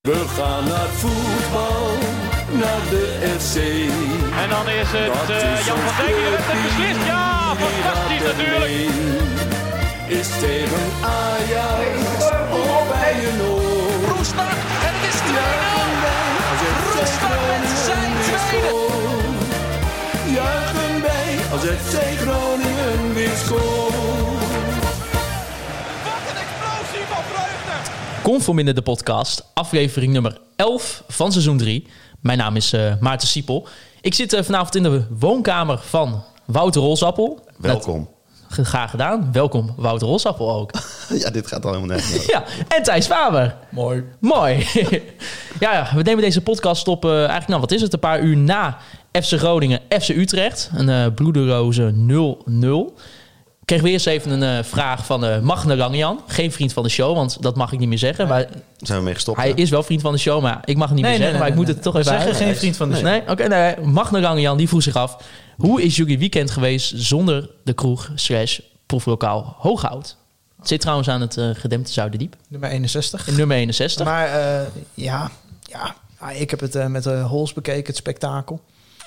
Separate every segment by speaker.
Speaker 1: We gaan naar voetbal, naar de FC.
Speaker 2: En dan is het eh, Jan van Dijk die de wedstrijd beslist. Ja, fantastisch natuurlijk.
Speaker 1: Is tegen Ajax of bij een oor.
Speaker 3: Roestak en het is 2-0.
Speaker 1: Als het
Speaker 3: Roestak met zijn tweede.
Speaker 1: Juichen wij als het Groningen weer scoort.
Speaker 3: Wat een explosie van vreugde.
Speaker 4: Conform in de podcast, aflevering nummer 11 van seizoen 3. Mijn naam is eh, Maarten Siepel. Ik zit eh, vanavond in de woonkamer van Wouter Rolsappel.
Speaker 5: Welkom.
Speaker 4: Net- ge- Graag gedaan. Welkom, Wouter Rolsappel ook.
Speaker 5: Ja, dit gaat al helemaal nergens over.
Speaker 4: ja, en Thijs Faber. Mooi. Mooi. ja, ja, we nemen deze podcast op eh, eigenlijk, nou wat is het, een paar uur na FC Groningen, FC Utrecht. Een eh bloederoze 0-0. Kreeg weer eens even een eh, vraag van eh Magne Langejan. Geen vriend van de show, want dat mag ik niet meer zeggen. Maar
Speaker 5: Zijn we mee gestopt?
Speaker 4: Hij
Speaker 5: hè?
Speaker 4: is wel vriend van de show, maar ik mag het niet
Speaker 6: Nee,
Speaker 4: meer
Speaker 6: nee,
Speaker 4: zeggen. maar
Speaker 6: nee,
Speaker 4: ik moet
Speaker 6: nee,
Speaker 4: het toch
Speaker 6: nee.
Speaker 4: even
Speaker 6: Zeg er
Speaker 4: uitleggen.
Speaker 6: geen vriend van de show.
Speaker 4: Nee, oké. nou nee. Magna Rangejan, die vroeg zich af... Hoe is jullie weekend geweest zonder de kroeg slash proeflokaal Hooghout? Het zit trouwens aan het eh, gedempte Zuiderdiep.
Speaker 6: Nummer 61.
Speaker 4: In nummer 61.
Speaker 6: Maar eh, ja, ja. Ah, ik heb het eh, met de Hols bekeken, het spektakel.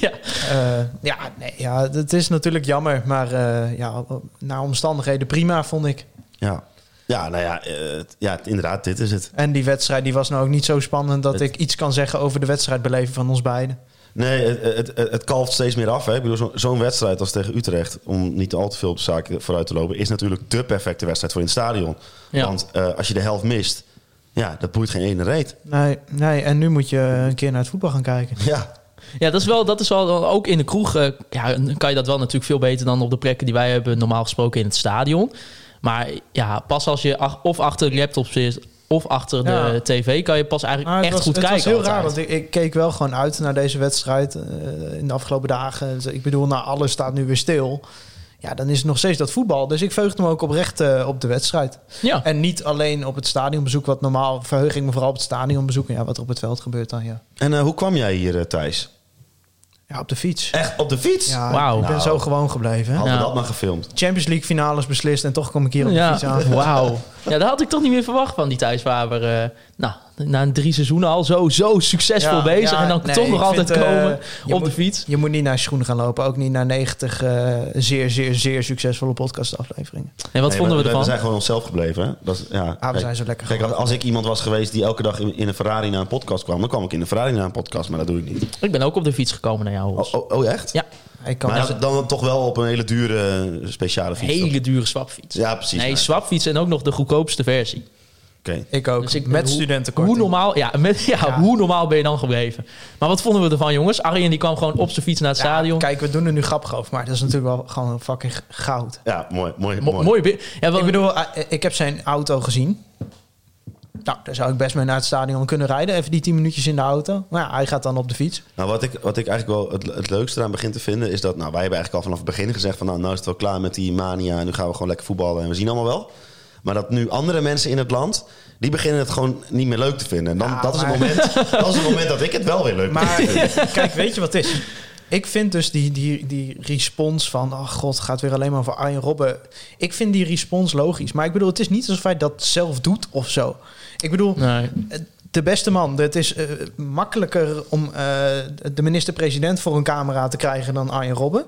Speaker 4: ja.
Speaker 6: Eh, ja, nee, ja, het is natuurlijk jammer, maar eh, ja, naar omstandigheden prima, vond ik.
Speaker 5: Ja. ja, nou ja, eh, het- ja, het- inderdaad, dit is het.
Speaker 6: En die wedstrijd die was nou ook niet zo spannend dat
Speaker 5: Het-
Speaker 6: ik iets kan zeggen over de wedstrijdbeleving van ons beiden.
Speaker 5: Nee, het, het, het, het kalft steeds meer af. Hè. Ik bedoel, zo- zo'n wedstrijd als tegen Utrecht, om niet al te veel op de zaak vooruit te lopen, is natuurlijk de perfecte wedstrijd voor in het stadion.
Speaker 4: Ja.
Speaker 5: Want eh, als je de helft mist, ja, dat boeit geen ene reet.
Speaker 6: Nee, nee, en nu moet je eh, een keer naar het voetbal gaan kijken.
Speaker 5: Ja,
Speaker 4: ja, dat is wel, dat is wel ook in de kroeg. eh, ja, dan kan je dat wel natuurlijk veel beter dan op de plekken die wij hebben normaal gesproken in het stadion. Maar ja, pas als je ach- of achter de laptop zit of achter
Speaker 6: Ja.
Speaker 4: de tv kan je pas
Speaker 6: Maar
Speaker 4: eigenlijk
Speaker 6: het
Speaker 4: echt
Speaker 6: was-
Speaker 4: goed
Speaker 6: het
Speaker 4: kijken.
Speaker 6: was heel raar,
Speaker 4: altijd.
Speaker 6: want ik, ik keek wel gewoon uit naar deze wedstrijd eh, in de afgelopen dagen. Ik bedoel, nou, alles staat nu weer stil. Ja, dan is het nog steeds dat voetbal. Dus ik verheugde me ook oprecht eh, op de wedstrijd.
Speaker 4: Ja.
Speaker 6: En niet alleen op het stadionbezoek, wat normaal verheug ik me vooral op het stadionbezoek. En ja, wat er op het veld gebeurt dan, ja.
Speaker 5: en eh, hoe kwam jij hier, eh, Thijs?
Speaker 6: Ja, op de fiets.
Speaker 5: Echt op de fiets?
Speaker 6: Ja,
Speaker 4: Wauw.
Speaker 6: Ik ben
Speaker 5: Nou.
Speaker 6: zo gewoon gebleven. hè.
Speaker 5: Hadden we
Speaker 4: Ja.
Speaker 5: dat maar gefilmd.
Speaker 6: Champions League finales beslist en toch kom ik hier op de fiets aan.
Speaker 4: Wauw. Ja, dat had ik toch niet meer verwacht van die Thijs Faber. Eh, nou, na een drie seizoenen al zo, zo succesvol
Speaker 6: Ja,
Speaker 4: bezig.
Speaker 6: ja,
Speaker 4: en dan
Speaker 6: nee,
Speaker 4: toch nog
Speaker 6: ik
Speaker 4: altijd
Speaker 6: vind, eh,
Speaker 4: komen
Speaker 6: je
Speaker 4: op de
Speaker 6: moet-
Speaker 4: fiets.
Speaker 6: Je moet niet naar je schoenen gaan lopen. Ook niet naar 90 eh, zeer, zeer, zeer succesvolle podcastafleveringen.
Speaker 4: En wat
Speaker 5: Nee,
Speaker 4: vonden
Speaker 5: maar
Speaker 4: we ervan?
Speaker 5: We zijn gewoon onszelf gebleven. Hè? Dat is, ja,
Speaker 6: Ah, we
Speaker 5: kijk.
Speaker 6: zijn zo lekker
Speaker 5: Kijk, als, als ik iemand was geweest die elke dag in, in een Ferrari naar een podcast kwam, dan kwam ik in een Ferrari naar een podcast, maar dat doe ik niet.
Speaker 4: Ik ben ook op de fiets gekomen naar jou. Hols.
Speaker 5: Oh, oh, oh, echt?
Speaker 4: Ja,
Speaker 6: Ik kan
Speaker 5: Maar dan, dan toch wel op een hele dure eh, speciale fiets.
Speaker 4: hele dure swapfiets.
Speaker 5: Ja, precies.
Speaker 4: nee,
Speaker 5: Maar-
Speaker 4: swapfiets en ook nog de goedkoopste versie.
Speaker 5: Oké.
Speaker 6: Ik ook.
Speaker 4: Dus ik ben-
Speaker 6: met
Speaker 4: hoe-
Speaker 6: studentenkorting.
Speaker 4: Hoe normaal, ja, met, ja, hoe normaal ben je dan gebleven? Maar wat vonden we ervan, jongens? Arjen die kwam gewoon op zijn fiets naar het
Speaker 6: Ja,
Speaker 4: stadion.
Speaker 6: Kijk, we doen er nu grappig over, maar dat is natuurlijk wel gewoon fucking goud.
Speaker 5: Ja, mooi. mooi,
Speaker 4: Mo-
Speaker 5: mooi.
Speaker 4: mooi. be- Ja, wel-
Speaker 6: Ik bedoel, eh, ik heb zijn auto gezien. Nou, daar zou ik best mee naar het stadion kunnen rijden. Even die 10 minuutjes in de auto. Maar ja, hij gaat dan op de fiets.
Speaker 5: Nou, wat, ik, wat ik eigenlijk wel het, het leukste eraan begin te vinden... is dat nou, wij hebben eigenlijk al vanaf het begin gezegd... van nou, nou is het wel klaar met die mania... en nu gaan we gewoon lekker voetballen en we zien allemaal wel. Maar dat nu andere mensen in het land... die beginnen het gewoon niet meer leuk te vinden. En dan,
Speaker 6: Ja,
Speaker 5: dat, is
Speaker 6: maar-
Speaker 5: het moment, dat is het moment dat ik het wel weer leuk vind.
Speaker 6: Maar kijk, weet je wat het is? Ik vind dus die, die, die respons van... Oh god, het gaat weer alleen maar over Arjen Robben. Ik vind die respons logisch. Maar ik bedoel, het is niet alsof hij dat zelf doet of zo. Ik bedoel,
Speaker 4: nee.
Speaker 6: Eh, de beste man. Het is eh, makkelijker om eh, de minister-president voor een camera te krijgen dan Arjen Robben.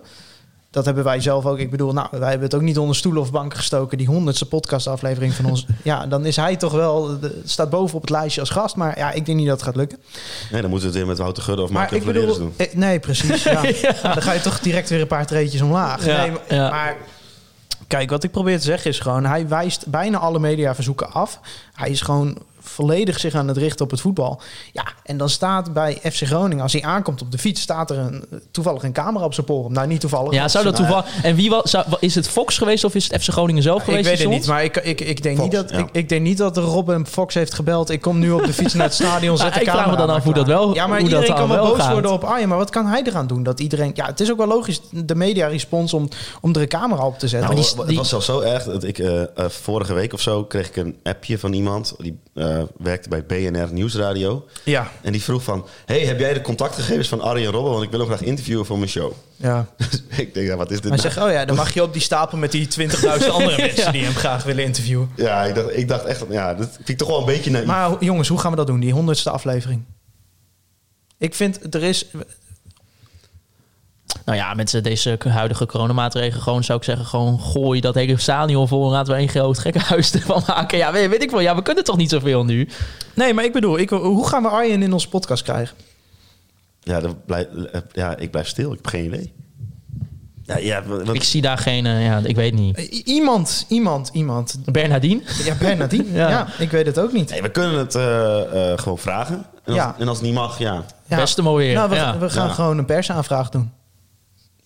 Speaker 6: Dat hebben wij zelf ook. Ik bedoel, nou, wij hebben het ook niet onder stoelen of banken gestoken. Die honderdste podcastaflevering van ons. Ja, dan is hij toch wel, de, staat boven op het lijstje als gast. Maar ja, ik denk niet dat het gaat lukken.
Speaker 5: Nee, dan moeten we het weer met Wouter Gudde of
Speaker 6: Maar
Speaker 5: Marco
Speaker 6: ik
Speaker 5: Flederis
Speaker 6: bedoel,
Speaker 5: doen.
Speaker 6: eh, nee, precies. Ja. Dan ga je toch direct weer een paar treetjes omlaag.
Speaker 4: Ja,
Speaker 6: nee, maar,
Speaker 4: ja.
Speaker 6: maar kijk, wat ik probeer te zeggen is gewoon: hij wijst bijna alle mediaverzoeken af. Hij is gewoon volledig zich aan het richten op het voetbal. Ja, en dan staat bij FC Groningen, als hij aankomt op de fiets, staat er een, toevallig een camera op zijn porum. Nou, niet toevallig.
Speaker 4: Ja, zou dat toeval... En wie was... zou- is het Fox geweest of is het FC Groningen zelf
Speaker 6: ik
Speaker 4: geweest?
Speaker 6: weet het
Speaker 4: die
Speaker 6: niet,
Speaker 4: stond?
Speaker 6: maar ik, ik, ik, denk
Speaker 5: Fox,
Speaker 6: niet dat,
Speaker 5: ja.
Speaker 6: ik, ik denk niet dat Robin Fox heeft gebeld. Ik kom nu op de fiets naar het stadion, zet
Speaker 4: Ja, Nou,
Speaker 6: de
Speaker 4: ik vraag
Speaker 6: camera
Speaker 4: me dan
Speaker 6: maar
Speaker 4: af hoe dat
Speaker 6: klaar.
Speaker 4: wel-
Speaker 6: Ja, maar
Speaker 4: hoe dat
Speaker 6: iedereen
Speaker 4: dan
Speaker 6: kan wel
Speaker 4: wel
Speaker 6: boos
Speaker 4: gaat.
Speaker 6: worden op Arjen. Maar wat kan hij eraan doen? Dat iedereen... Ja, het is ook wel logisch, de media-respons om, om er een camera op te zetten.
Speaker 5: Nou,
Speaker 4: die-
Speaker 5: het
Speaker 4: die-
Speaker 5: was zelfs zo erg dat ik eh, eh, vorige week of zo kreeg ik een appje van iemand. Die eh, werkte bij BNR Nieuwsradio.
Speaker 6: Ja,
Speaker 5: En die vroeg van, hey, heb jij de contactgegevens van Arjen en Robben? Want ik wil hem graag interviewen voor mijn show.
Speaker 6: ja.
Speaker 5: Dus ik denk, ja, wat is dit
Speaker 6: Hij
Speaker 5: nou?
Speaker 6: zegt, oh ja, dan mag je op die stapel met die 20.000 andere mensen die hem graag willen interviewen.
Speaker 5: Ja, ik dacht, ik dacht echt, ja, dat vind ik toch wel een beetje naïef.
Speaker 6: Maar ho- jongens, hoe gaan we dat doen, die honderdste aflevering? Ik vind, er is...
Speaker 4: Nou ja, met eh, deze huidige coronamaatregelen gewoon zou ik zeggen, gewoon gooi dat hele stadion vol en laten we één groot gekkenhuis ervan maken. Ja, weet, weet ik wel. Ja, we kunnen toch niet zoveel nu.
Speaker 6: Nee, maar ik bedoel, ik, hoe gaan we Arjen in onze podcast krijgen?
Speaker 5: Ja, dat blijf, ja, ik blijf stil, ik heb geen idee. Ja, ja, wat- wat-
Speaker 4: Ik zie daar geen, eh, ja, ik weet niet.
Speaker 6: I- iemand, iemand, iemand.
Speaker 4: Bernardine?
Speaker 6: Ja, Bernadine. ja.
Speaker 4: Ja.
Speaker 6: ik weet het ook niet.
Speaker 5: nee, we kunnen het eh, eh, gewoon vragen. En als,
Speaker 6: Ja.
Speaker 5: en als het niet mag, ja,
Speaker 6: Ja.
Speaker 4: Beste mooi weer.
Speaker 6: Nou, we,
Speaker 4: ja.
Speaker 6: we gaan
Speaker 5: Ja.
Speaker 6: gewoon een persaanvraag doen.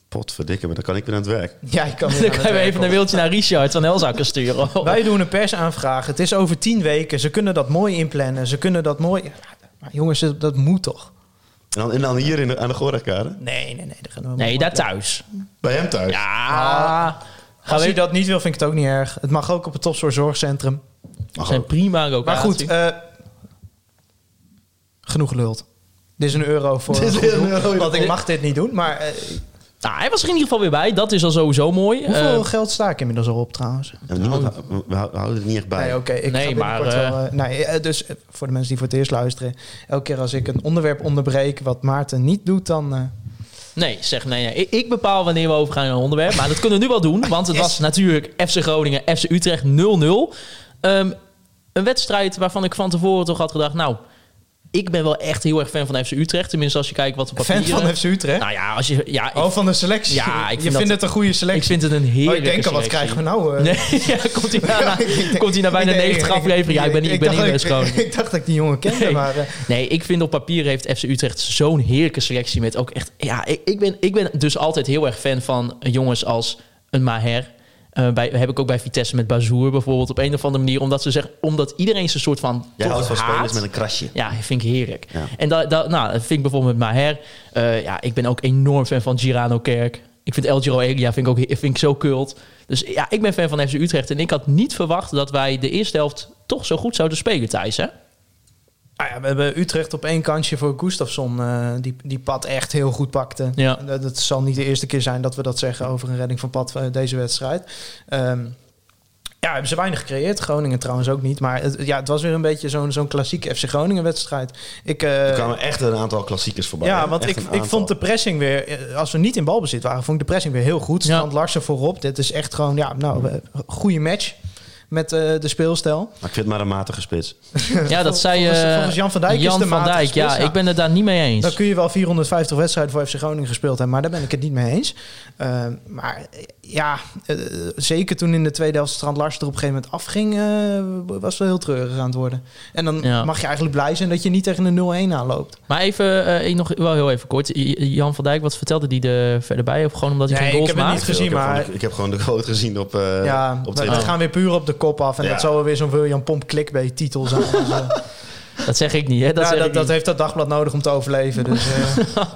Speaker 5: potverdikke, maar dan kan ik weer aan het werk.
Speaker 6: Ja, ik kan weer
Speaker 4: Dan
Speaker 6: aan
Speaker 4: gaan we
Speaker 6: het werk
Speaker 4: even een
Speaker 6: komen.
Speaker 4: wiltje naar Richard van Elzakker sturen.
Speaker 6: Wij doen een persaanvraag. Het is over tien weken. Ze kunnen dat mooi inplannen. Ze kunnen dat mooi... Ja, maar jongens, dat, dat moet toch?
Speaker 5: En dan, en dan hier in de, aan de Gorrekade?
Speaker 6: Nee, nee, nee. dat gaan we
Speaker 4: Nee,
Speaker 6: mooi
Speaker 4: daar thuis.
Speaker 5: Bij hem thuis? Ja.
Speaker 4: Ah, gaan
Speaker 6: Als
Speaker 4: we
Speaker 6: hij dat niet wil, vind ik het ook niet erg. Het mag ook op het Topsoort Zorgcentrum.
Speaker 4: We zijn prima ook.
Speaker 6: Maar goed, eh, genoeg geluld. Dit is een euro voor
Speaker 5: Dit is
Speaker 6: een goed
Speaker 5: een
Speaker 6: doel,
Speaker 5: euro.
Speaker 6: want ik mag dit niet doen. Maar eh,
Speaker 4: nou, hij was er in ieder geval weer bij. Dat is al sowieso mooi.
Speaker 6: hoeveel
Speaker 4: Eh,
Speaker 6: geld sta ik inmiddels al op trouwens?
Speaker 5: we hou- we houden het niet echt bij.
Speaker 6: Nee, oké. ik
Speaker 4: Nee,
Speaker 6: ga binnenkort
Speaker 4: maar,
Speaker 6: wel, eh, nee, eh, dus eh, voor de mensen die voor het eerst luisteren. Elke keer als ik een onderwerp onderbreek wat Maarten niet doet, dan... eh,
Speaker 4: nee, zeg nee, nee. Ik, ik bepaal wanneer we overgaan naar een onderwerp. Maar dat kunnen we nu wel
Speaker 6: Ah,
Speaker 4: doen. Want het was natuurlijk FC Groningen, FC Utrecht 0-0. Ehm, een wedstrijd waarvan ik van tevoren toch had gedacht... Nou, ik ben wel echt heel erg fan van FC Utrecht. Tenminste, als je kijkt wat de
Speaker 6: fan
Speaker 4: papieren...
Speaker 6: van FC Utrecht.
Speaker 4: Nou ja, als je... Ja, ik,
Speaker 6: oh, van de selectie.
Speaker 4: Ja, ik vind
Speaker 6: Je vindt
Speaker 4: dat-
Speaker 6: het een goede
Speaker 4: ik
Speaker 6: selectie.
Speaker 4: vind het een heerlijke
Speaker 6: oh, ik denk al, wat
Speaker 4: selectie.
Speaker 6: krijgen we nou? eh?
Speaker 4: Nee, ja, komt hij
Speaker 6: Ja,
Speaker 4: na,
Speaker 6: ik denk-
Speaker 4: komt hij na bijna
Speaker 6: ik denk-
Speaker 4: 90 afleveringen. Ja, ik ben, niet- ik ben
Speaker 6: dacht
Speaker 4: niet meer
Speaker 6: dat
Speaker 4: schoon.
Speaker 6: ik, ik dacht dat ik die jongen kende,
Speaker 4: Nee.
Speaker 6: maar... eh,
Speaker 4: Nee, ik vind op papier heeft FC Utrecht zo'n heerlijke selectie met ook echt... Ja, ik, ik, ben, ik ben dus altijd heel erg fan van jongens als een Maher. Eh, bij, heb ik ook bij Vitesse met Bazoer bijvoorbeeld op een of andere manier. Omdat, ze zeggen, omdat iedereen zijn soort van
Speaker 5: Jij
Speaker 4: toch
Speaker 5: houdt van
Speaker 4: haat.
Speaker 5: spelers met een krasje.
Speaker 4: Ja, vind ik heerlijk.
Speaker 5: Ja.
Speaker 4: En dat, dat, nou, dat vind ik bijvoorbeeld met Maher. Eh, ja, ik ben ook enorm fan van Girano Kerk. Ik vind El Giro Elia vind ik ook vind ik zo kult. Dus ja, ik ben fan van FC Utrecht. En ik had niet verwacht dat wij de eerste helft toch zo goed zouden spelen, Thijs. Hè?
Speaker 6: Ah ja, we hebben Utrecht op één kansje voor Gustafsson, eh, die, die pad echt heel goed pakte.
Speaker 4: Ja.
Speaker 6: Dat, dat zal niet de eerste keer zijn dat we dat zeggen over een redding van pad eh, deze wedstrijd. Ehm, ja, hebben ze weinig gecreëerd. Groningen trouwens ook niet. Maar het, ja, het was weer een beetje zo'n zo'n klassieke FC Groningen wedstrijd. Ik, eh,
Speaker 5: Er kwamen echt een aantal klassiekers voorbij.
Speaker 6: ja,
Speaker 5: hè?
Speaker 6: want
Speaker 5: Echt
Speaker 6: ik,
Speaker 5: een
Speaker 6: ik
Speaker 5: aantal.
Speaker 6: vond de pressing weer, eh, als we niet in balbezit waren, vond ik de pressing weer heel goed.
Speaker 4: Ja.
Speaker 6: Strand Larsen voorop. Dit is echt gewoon, ja, nou, eh, goede match met eh, de speelstijl.
Speaker 5: Maar ik vind het maar een matige spits.
Speaker 4: Ja, dat
Speaker 6: Volgens-
Speaker 4: zei
Speaker 6: volgens-
Speaker 4: eh,
Speaker 6: volgens Jan van Dijk is
Speaker 4: Jan
Speaker 6: de dus
Speaker 4: van
Speaker 6: matige
Speaker 4: Dijk,
Speaker 6: spits,
Speaker 4: ja,
Speaker 6: ja.
Speaker 4: ik ben het daar niet mee eens.
Speaker 6: Dan kun je wel 450 wedstrijden voor FC Groningen gespeeld hebben, maar daar ben ik het niet mee eens. Eh, maar eh, ja, eh, zeker toen in de tweede helft Strand Larsen er op een gegeven moment afging, eh, was wel heel treurig aan het worden. En dan
Speaker 4: Ja.
Speaker 6: mag je eigenlijk blij zijn dat je niet tegen een 0-1 aanloopt.
Speaker 4: Maar even, eh, ik nog wel heel even kort. I- Jan van Dijk, wat vertelde die er verderbij? Of gewoon omdat hij
Speaker 6: Nee,
Speaker 4: geen
Speaker 6: ik
Speaker 4: goals
Speaker 6: heb het
Speaker 4: maakt?
Speaker 6: niet
Speaker 5: ik,
Speaker 6: gezien,
Speaker 5: heb
Speaker 6: maar-
Speaker 5: gewoon de, ik heb gewoon de quote gezien op, eh
Speaker 6: ja,
Speaker 5: op
Speaker 6: we,
Speaker 5: Twitter.
Speaker 6: we gaan weer puur op de kop af en
Speaker 5: Ja.
Speaker 6: dat zal wel weer zo'n William Pomp clickbait titel zijn. Dus, eh, nou,
Speaker 4: Dat zeg ik niet, hè? Dat,
Speaker 6: Dat,
Speaker 4: zeg
Speaker 6: dat,
Speaker 4: ik niet.
Speaker 6: heeft dat dagblad nodig om te overleven. Dus, eh,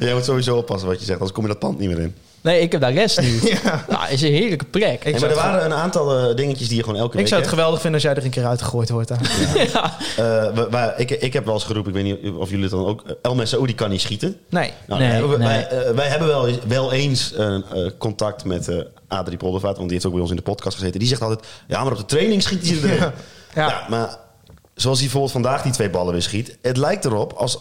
Speaker 5: Jij moet sowieso oppassen wat je zegt, anders kom je dat pand niet meer in.
Speaker 4: Nee, ik heb daar rest nu.
Speaker 6: ja.
Speaker 4: nou, is een heerlijke plek.
Speaker 6: Ik
Speaker 5: Nee,
Speaker 6: zou
Speaker 5: maar er
Speaker 6: het
Speaker 5: waren een aantal eh, dingetjes die je gewoon elke
Speaker 6: Ik
Speaker 5: week...
Speaker 6: zou het
Speaker 5: hebt.
Speaker 6: geweldig vinden als jij er een keer uitgegooid wordt. Daar.
Speaker 5: Eh, we- we- ik, ik heb wel eens geroepen, ik weet niet of jullie het dan ook... eh, El Messaoudi kan niet schieten.
Speaker 6: Nee.
Speaker 5: Nou,
Speaker 4: Nee,
Speaker 5: daar hebben we-
Speaker 4: nee.
Speaker 5: Wij, eh, wij hebben wel, wel eens eh, eh, contact met eh Adrie Poldervaart, want die heeft ook bij ons in de podcast gezeten. Die zegt altijd, ja, maar op de training schiet hij erin. Ja.
Speaker 6: Ja.
Speaker 5: maar zoals hij bijvoorbeeld vandaag die twee ballen weer schiet, het lijkt erop als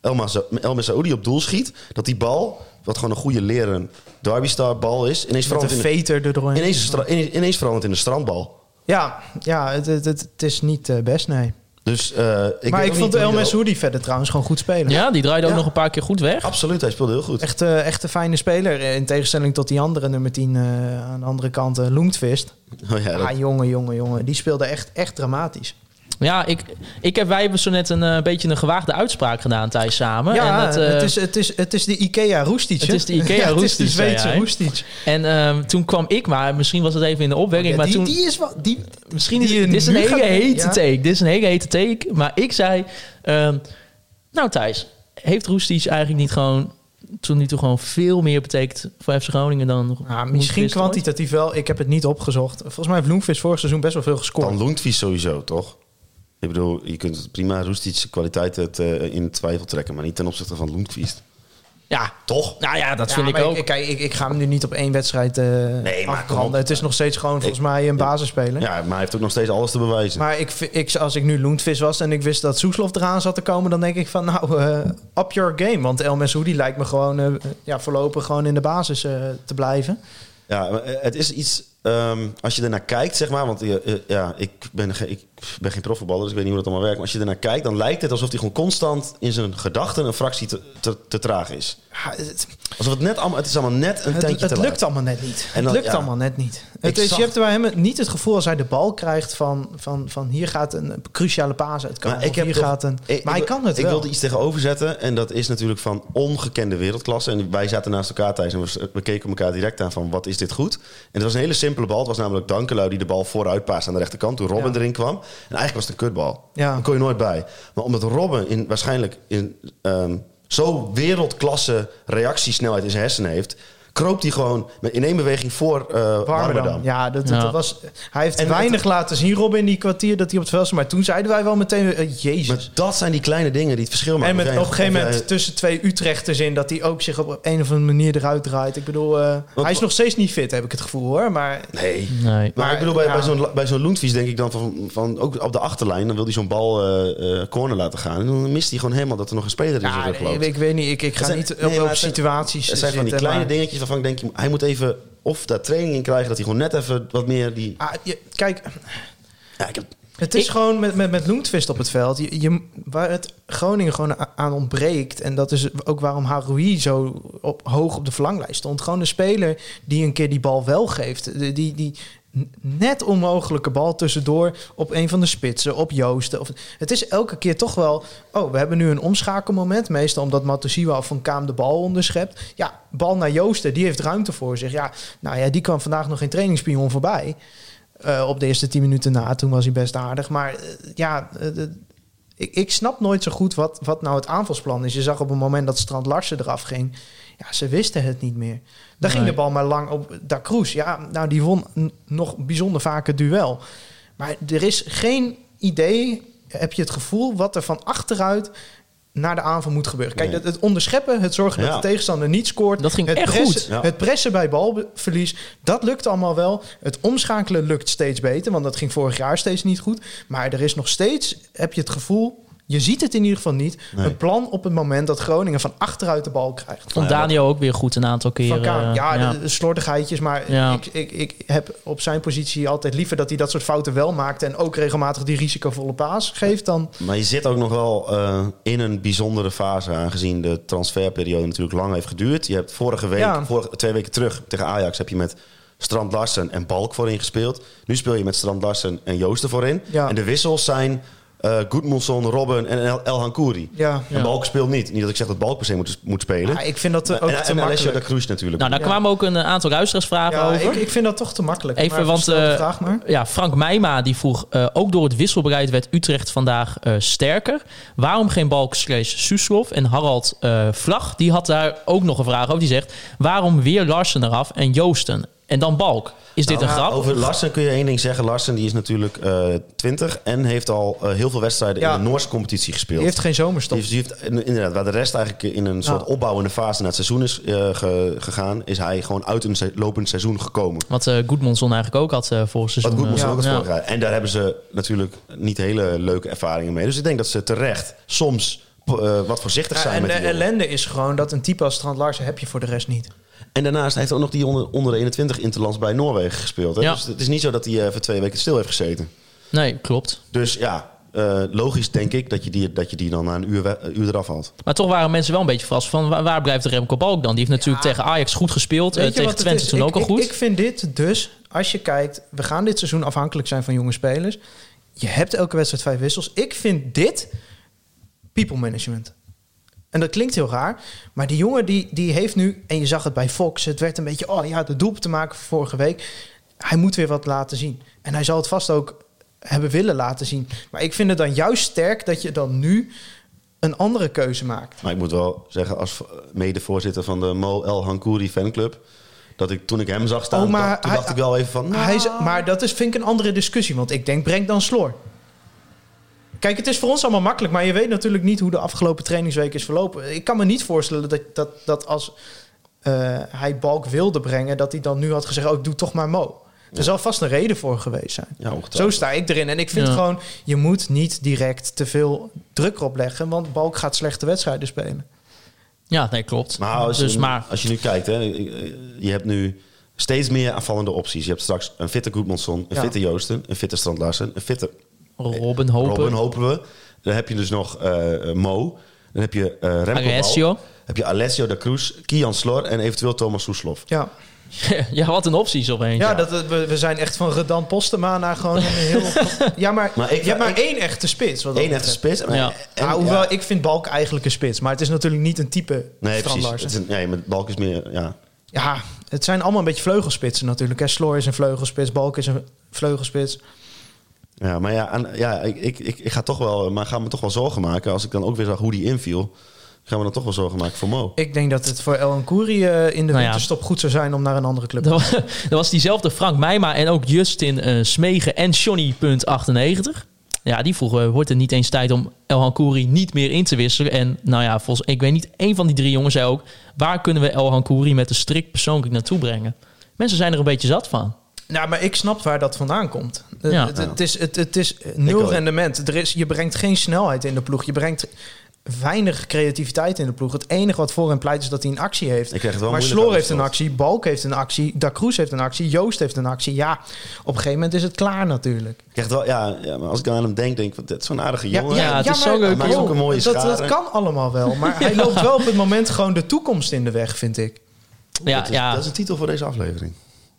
Speaker 5: El Massa- El Messaoudi op doel schiet, dat die bal, wat gewoon een goede leren Derby Star bal is, ineens
Speaker 6: Met een
Speaker 5: verandert, in, de-
Speaker 6: veter erdoor.
Speaker 5: ineens, een stra- ineens- ineens verandert in een strandbal.
Speaker 6: Ja, ja het, het, het, het is niet eh, best, nee.
Speaker 5: Dus, eh, ik
Speaker 6: maar
Speaker 5: weet
Speaker 6: ik
Speaker 5: ook
Speaker 6: vond
Speaker 5: niet hoe die
Speaker 6: El
Speaker 5: er-
Speaker 6: Meshoudi verder trouwens gewoon goed spelen.
Speaker 4: Ja, die draaide ook
Speaker 5: Ja.
Speaker 4: nog een paar keer goed weg.
Speaker 5: Absoluut, hij speelde heel goed.
Speaker 6: Echt, eh, echt een fijne speler. eh, In tegenstelling tot die andere nummer 10 eh, aan de andere kant, eh Loengtvist.
Speaker 5: Oh ja, dat-
Speaker 6: Ah, jongen, jongen, jongen. Die speelde echt, echt dramatisch.
Speaker 4: Ja, ik, ik heb, wij hebben zo net een eh, beetje een gewaagde uitspraak gedaan, Thijs, samen.
Speaker 6: ja,
Speaker 4: en dat, eh,
Speaker 6: het, is, het, is, het is de Ikea Roestic. hè?
Speaker 4: Het is de Ikea
Speaker 6: Ja, Het is de
Speaker 4: Roestic, zei
Speaker 6: Zweedse
Speaker 4: jij.
Speaker 6: Roestic.
Speaker 4: en ehm, toen kwam ik maar, misschien was het even in de opwekking,
Speaker 6: Oh, Ja,
Speaker 4: maar toen...
Speaker 6: die, die is wel... Die,
Speaker 4: Misschien is
Speaker 6: die je
Speaker 4: dit is
Speaker 6: nu
Speaker 4: een
Speaker 6: gaat
Speaker 4: hele
Speaker 6: brengen,
Speaker 4: hete
Speaker 6: ja.
Speaker 4: take. Dit is een hele hete take. Maar ik zei, ehm, nou Thijs, heeft Roestic eigenlijk niet gewoon tot nu toe gewoon veel meer betekend voor FC Groningen dan
Speaker 6: Ja, Nou, Ah, misschien
Speaker 4: Lundqvist ooit?
Speaker 6: kwantitatief wel. Ik heb het niet opgezocht. Volgens mij heeft Loengtvist vorig seizoen best wel veel gescoord.
Speaker 5: Dan Loentvies sowieso, toch? Ik bedoel, je kunt prima Roestic's kwaliteit het, eh, in twijfel trekken, maar niet ten opzichte van Lundqvist.
Speaker 4: Ja,
Speaker 5: Toch?
Speaker 4: nou ja, dat
Speaker 6: Ja,
Speaker 4: vind
Speaker 6: maar
Speaker 4: ik ook.
Speaker 6: Kijk, ik, ik ga hem nu niet op één wedstrijd eh
Speaker 5: maar kom op.
Speaker 6: afbranden. Het is nog steeds gewoon volgens mij een basisspeler.
Speaker 5: Ja, maar hij heeft ook nog steeds alles te bewijzen.
Speaker 6: Maar ik, vi- ik, als ik nu Loentvis was en ik wist dat Soeslof eraan zat te komen... dan denk ik van, nou, eh up your game. Want El Messoudi lijkt me gewoon eh, ja, voorlopig gewoon in de basis eh, te blijven.
Speaker 5: Ja, maar, eh, het is iets. ehm, als je ernaar kijkt, zeg maar. Want eh, eh, ja, ik ben, ge- ik ben geen profvoetballer, dus ik weet niet hoe dat allemaal werkt. Maar als je ernaar kijkt, dan lijkt het alsof hij gewoon constant in zijn gedachten een fractie te, te, te traag is.
Speaker 6: Ja, het,
Speaker 5: Alsof het net allemaal. Het is allemaal net een
Speaker 6: het,
Speaker 5: tandje
Speaker 6: het
Speaker 5: te
Speaker 6: lukt
Speaker 5: laag.
Speaker 6: allemaal net niet.
Speaker 5: En dan-
Speaker 6: het lukt
Speaker 5: ja.
Speaker 6: allemaal net niet. Het
Speaker 5: Ik
Speaker 6: is,
Speaker 5: zag-
Speaker 6: Je hebt bij hem niet het gevoel als hij de bal krijgt van, van, van hier gaat een cruciale paas uitkomen.
Speaker 5: Maar ik
Speaker 6: of
Speaker 5: heb
Speaker 6: hier
Speaker 5: toch-
Speaker 6: gaat een,
Speaker 5: ik-
Speaker 6: maar hij
Speaker 5: ik-
Speaker 6: kan het
Speaker 5: Ik
Speaker 6: wel.
Speaker 5: wilde iets tegenover zetten. En dat is natuurlijk van ongekende wereldklasse. En wij zaten naast elkaar thuis en we, we keken elkaar direct aan van wat is dit goed. En het was een hele simpele bal. Het was namelijk Dankelui die de bal vooruit paast aan de rechterkant. Toen Robben
Speaker 6: Ja.
Speaker 5: erin kwam. En eigenlijk was het een kutbal.
Speaker 6: Ja.
Speaker 5: Daar kon je nooit bij. Maar omdat Robben in, waarschijnlijk in, ehm, zo wereldklasse reactiesnelheid in zijn hersenen heeft... kroop hij gewoon met- in één beweging voor eh
Speaker 6: Warmerdam.
Speaker 5: Warmerdam.
Speaker 6: Ja, dat, dat-
Speaker 4: Ja.
Speaker 6: dat was, hij heeft
Speaker 5: En
Speaker 6: weinig laten zien, Robin, in die kwartier dat hij op het veld stond. Maar toen zeiden wij wel meteen, eh, jezus.
Speaker 5: Maar dat zijn die kleine dingen die het verschil maken.
Speaker 6: en met,
Speaker 5: Of
Speaker 6: op
Speaker 5: jij-
Speaker 6: een gegeven
Speaker 5: of
Speaker 6: moment
Speaker 5: jij-
Speaker 6: tussen twee Utrechters in... dat hij ook zich op een of andere manier eruit draait. Ik bedoel, eh, hij is nog steeds niet fit, heb ik het gevoel, hoor. Maar
Speaker 5: Nee.
Speaker 4: Nee.
Speaker 5: Maar,
Speaker 6: Maar,
Speaker 5: ik bedoel, bij,
Speaker 6: ja.
Speaker 5: bij zo'n, bij zo'n Loentvies denk ik dan van, van... Ook op de achterlijn, dan wil hij zo'n bal eh, eh, corner laten gaan. En dan mist hij gewoon helemaal dat er nog een speler in zijn
Speaker 6: ja,
Speaker 5: rug
Speaker 6: nee,
Speaker 5: loopt.
Speaker 6: ik weet niet, ik, ik ga
Speaker 5: zijn-
Speaker 6: niet
Speaker 5: nee,
Speaker 6: op,
Speaker 5: maar
Speaker 6: op
Speaker 5: het zijn-
Speaker 6: situaties
Speaker 5: Het zijn van die
Speaker 6: zitten,
Speaker 5: kleine
Speaker 6: eh, maar-
Speaker 5: dingetjes waarvan ik denk... Hij moet even of daar training in krijgen... dat hij gewoon net even wat meer die...
Speaker 6: Ah, je- kijk,
Speaker 5: Ja, ik heb,
Speaker 6: Het is
Speaker 4: Ik-
Speaker 6: gewoon met, met, met Loentvist op het veld. Je, je, waar het Groningen gewoon a- aan ontbreekt. En dat is ook waarom Haroui zo op, hoog op de verlanglijst stond. Gewoon een speler die een keer die bal wel geeft. Die, die, die n- net onmogelijke bal tussendoor op een van de spitsen, op Joosten. Of, het is elke keer toch wel. Oh, we hebben nu een omschakelmoment. Meestal omdat Matusiwa of Van Kaam de bal onderschept. Ja, bal naar Joosten, die heeft ruimte voor zich. Ja, nou ja, die kwam vandaag nog geen trainingspion voorbij. Eh, op de eerste tien minuten na. Toen was hij best aardig. Maar eh, ja, eh, de- ik, ik snap nooit zo goed wat, wat nou het aanvalsplan is. Je zag op het moment dat Strand Larsen eraf ging. Ja, ze wisten het niet meer. Daar ging
Speaker 4: Nee.
Speaker 6: de bal maar lang op Da Cruz. Ja, nou, die won n- nog bijzonder vaak het duel. Maar er is geen idee, heb je het gevoel, wat er van achteruit naar de aanval moet gebeuren. Kijk,
Speaker 5: Nee.
Speaker 6: het, het onderscheppen, het zorgen dat
Speaker 5: Ja.
Speaker 6: de tegenstander niet scoort.
Speaker 4: Dat ging
Speaker 6: het
Speaker 4: echt
Speaker 6: pressen-
Speaker 4: goed.
Speaker 5: Ja.
Speaker 6: Het pressen bij balverlies, dat lukt allemaal wel. Het omschakelen lukt steeds beter, want dat ging vorig jaar steeds niet goed. Maar er is nog steeds, heb je het gevoel, je ziet het in ieder geval niet,
Speaker 5: Nee.
Speaker 6: een plan op het moment dat Groningen van achteruit de bal krijgt.
Speaker 4: Vond Daniel ook weer goed een aantal keren.
Speaker 6: Van Kaan,
Speaker 4: eh,
Speaker 6: ja, de- de slordigheidjes, maar
Speaker 4: Ja.
Speaker 6: ik, ik, ik heb op zijn positie altijd liever dat hij dat soort fouten wel maakt en ook regelmatig die risicovolle paas geeft dan...
Speaker 5: maar je zit ook nog wel eh, in een bijzondere fase... aangezien de transferperiode natuurlijk lang heeft geduurd. Je hebt vorige week,
Speaker 6: Ja.
Speaker 5: vorige, twee weken terug tegen Ajax... heb je met Strand Larsen en Balk voorin gespeeld. Nu speel je met Strand Larsen en Joosten voorin.
Speaker 6: Ja.
Speaker 5: En de wissels zijn... eh Goedmondson, Robben en El, Elhan Kouri.
Speaker 6: Ja.
Speaker 5: En Balk speelt niet. Niet dat ik zeg dat Balk per se moet, moet spelen.
Speaker 6: Ja, ik vind dat eh,
Speaker 5: en
Speaker 6: ook
Speaker 5: en
Speaker 6: te
Speaker 5: Alessio
Speaker 6: makkelijk.
Speaker 5: de Cruz natuurlijk.
Speaker 4: Nou, daar
Speaker 6: Ja.
Speaker 4: kwamen ook een eh, aantal luisteraarsvragen
Speaker 6: Ja,
Speaker 4: over.
Speaker 6: ik, ik vind dat toch te makkelijk.
Speaker 4: Even,
Speaker 6: Maar
Speaker 4: want
Speaker 6: stel de
Speaker 4: eh,
Speaker 6: vraag maar.
Speaker 4: ja, Frank Meijma die vroeg... eh, ook door het wisselbereid werd Utrecht vandaag eh, sterker. Waarom geen balk slash Suslov? En Harald eh, Vlag die had daar ook nog een vraag over. Die zegt, waarom weer Larsen eraf en Joosten? En dan balk. Is dit een
Speaker 5: Nou,
Speaker 4: grap?
Speaker 5: Over Larsen kun je één ding zeggen. Larsen die is natuurlijk eh 20 en heeft al eh, heel veel wedstrijden
Speaker 6: Ja.
Speaker 5: in de Noorse competitie gespeeld.
Speaker 6: Die heeft geen zomerstop.
Speaker 5: Die heeft- die heeft- inderdaad, waar de rest eigenlijk in een soort
Speaker 6: Ja.
Speaker 5: opbouwende fase naar het seizoen is eh, ge- gegaan, is hij gewoon uit een se- lopend seizoen gekomen.
Speaker 4: Wat eh Goedmondson eigenlijk ook had eh vorig seizoen.
Speaker 5: Wat goed moest
Speaker 4: eh,
Speaker 5: ook het
Speaker 4: ja.
Speaker 5: vorig jaar. En daar hebben ze natuurlijk niet hele leuke ervaringen mee. Dus ik denk dat ze terecht soms eh, wat voorzichtig
Speaker 6: Ja,
Speaker 5: zijn
Speaker 6: en
Speaker 5: met
Speaker 6: de
Speaker 5: die jongen.
Speaker 6: ellende is gewoon dat een type als Strand Larsen heb je voor de rest niet.
Speaker 4: Eh,
Speaker 5: En daarnaast heeft hij ook nog die onder, onder de 21 interlands bij Noorwegen gespeeld. Hè?
Speaker 4: Ja.
Speaker 5: Dus het is niet zo dat hij eh, voor twee weken stil heeft gezeten.
Speaker 4: Nee, klopt.
Speaker 5: Dus ja, eh, logisch denk ik dat je, die, dat je die dan na een uur, we- eh, uur eraf haalt.
Speaker 4: Maar toch waren mensen wel een beetje verrast van... wa- waar blijft Remco Balk dan? Die heeft natuurlijk tegen Ajax goed gespeeld. eh,
Speaker 6: Weet je
Speaker 4: tegen
Speaker 6: wat het
Speaker 4: Twente
Speaker 6: is?
Speaker 4: toen
Speaker 6: Ik-
Speaker 4: ook al
Speaker 6: ik-
Speaker 4: goed.
Speaker 6: Ik vind dit dus, als je kijkt, we gaan dit seizoen afhankelijk zijn van jonge spelers. Je hebt elke wedstrijd vijf wissels. Ik vind dit people management. En dat klinkt heel raar, maar die jongen die, die heeft nu, en je zag het bij Fox, het werd een beetje, oh ja, de doelpunt te maken van vorige week. Hij moet weer wat laten zien. En hij zal het vast ook hebben willen laten zien. Maar ik vind het dan juist sterk dat je dan nu een andere keuze maakt.
Speaker 5: Maar ik moet wel zeggen, als v- medevoorzitter van de Mo El Hankouri fanclub... dat ik toen ik hem zag staan,
Speaker 6: Oh, maar
Speaker 5: dacht, toen
Speaker 6: hij-
Speaker 5: dacht ik wel even van... nou,
Speaker 6: Hij is, maar dat is, vind ik een andere discussie. Want ik denk, breng dan Sloor. Kijk, het is voor ons allemaal makkelijk, maar je weet natuurlijk niet hoe de afgelopen trainingsweek is verlopen. Ik kan me niet voorstellen dat, dat, dat als eh, hij Balk wilde brengen, dat hij dan nu had gezegd, oh, doe toch maar Mo. Er zal vast een reden voor geweest zijn.
Speaker 5: Ja, ongetwijfeld.
Speaker 6: Zo sta ik erin. En ik vind
Speaker 4: Ja.
Speaker 6: gewoon, je moet niet direct te veel druk erop leggen, want Balk gaat slechte wedstrijden spelen.
Speaker 4: Ja, nee, klopt.
Speaker 5: Nou, als,
Speaker 4: dus
Speaker 5: je,
Speaker 4: maar,
Speaker 5: als je nu kijkt, hè, eh, je hebt nu steeds meer aanvallende opties. Je hebt straks een fitte Goedmanson, een
Speaker 6: Ja.
Speaker 5: fitte Joosten, een fitte Strand Larsen, een fitte
Speaker 4: Robin Hopen.
Speaker 5: Robin, hopen we. Dan heb je dus nog eh, Mo. Dan heb je eh Remco Bal.
Speaker 4: Alessio.
Speaker 5: heb je Alessio da Cruz, Kian Slor en eventueel Thomas Soeslof.
Speaker 6: Ja,
Speaker 4: ja, wat een opties opeens.
Speaker 6: ja, Dat, dat- we, we zijn echt van Redan Postema naar gewoon een heel... Ja, maar,
Speaker 5: Maar ik-
Speaker 6: je hebt maar
Speaker 5: ik-
Speaker 6: één echte spits. wat dat
Speaker 5: Eén echte
Speaker 6: betreft.
Speaker 5: spits. En,
Speaker 4: Ja.
Speaker 5: en-
Speaker 6: ja, hoewel,
Speaker 5: ja.
Speaker 6: ik vind Balk eigenlijk een spits, maar het is natuurlijk niet een type
Speaker 5: Nee,
Speaker 6: Strand
Speaker 5: precies.
Speaker 6: Larsen.
Speaker 5: Het is een- nee, maar Balk is meer... Ja.
Speaker 6: Ja, het zijn allemaal een beetje vleugelspitsen natuurlijk. hè. Sloor is een vleugelspits, Balk is een vleugelspits.
Speaker 5: Ja, maar ja, aan- ja ik, ik, ik, ik ga toch wel... Maar ga me toch wel zorgen maken. Als ik dan ook weer zag hoe die inviel... gaan we dan toch wel zorgen maken voor Mo.
Speaker 6: Ik denk dat het voor El Ancoury eh, in de
Speaker 4: Nou ja.
Speaker 6: winterstop goed zou zijn om naar een andere club te
Speaker 4: Dat was, dat was diezelfde Frank Meijma en ook Justin eh, Smegen en Johnny.98. Ja, die vroegen, eh, wordt het niet eens tijd om El Hankouri niet meer in te wisselen? En nou ja, volgens, ik weet niet, één van die drie jongens zei ook... waar kunnen we El Hankouri met een strikt persoonlijk naartoe brengen? Mensen zijn er een beetje zat van.
Speaker 6: Nou, maar ik snap waar dat vandaan komt. Eh,
Speaker 4: Ja.
Speaker 6: Het, het is, het, het is nul
Speaker 5: Ik ook.
Speaker 6: rendement. Er is, je brengt geen snelheid in de ploeg. Je brengt weinig creativiteit in de ploeg. Het enige wat voor hem pleit is dat hij een actie heeft.
Speaker 5: Ik krijg het wel
Speaker 6: maar
Speaker 5: moeilijk
Speaker 6: Sloor
Speaker 5: aan
Speaker 6: heeft een
Speaker 5: Slot.
Speaker 6: actie, Balk heeft een actie, Da Cruz heeft een actie, Joost heeft een actie. Ja, op een gegeven moment is het klaar natuurlijk.
Speaker 5: Ik krijg wel, ja, ja, maar als ik aan hem denk, denk ik... want dit is zo'n aardige jongen.
Speaker 4: ja, het is zo leuk.
Speaker 5: Hij is ook een mooie
Speaker 6: dat, dat
Speaker 5: schare.
Speaker 6: kan allemaal wel. Maar hij loopt wel op het moment gewoon de toekomst in de weg, vind ik.
Speaker 4: Ja,
Speaker 5: dat, is,
Speaker 4: ja.
Speaker 5: dat is de titel voor deze aflevering.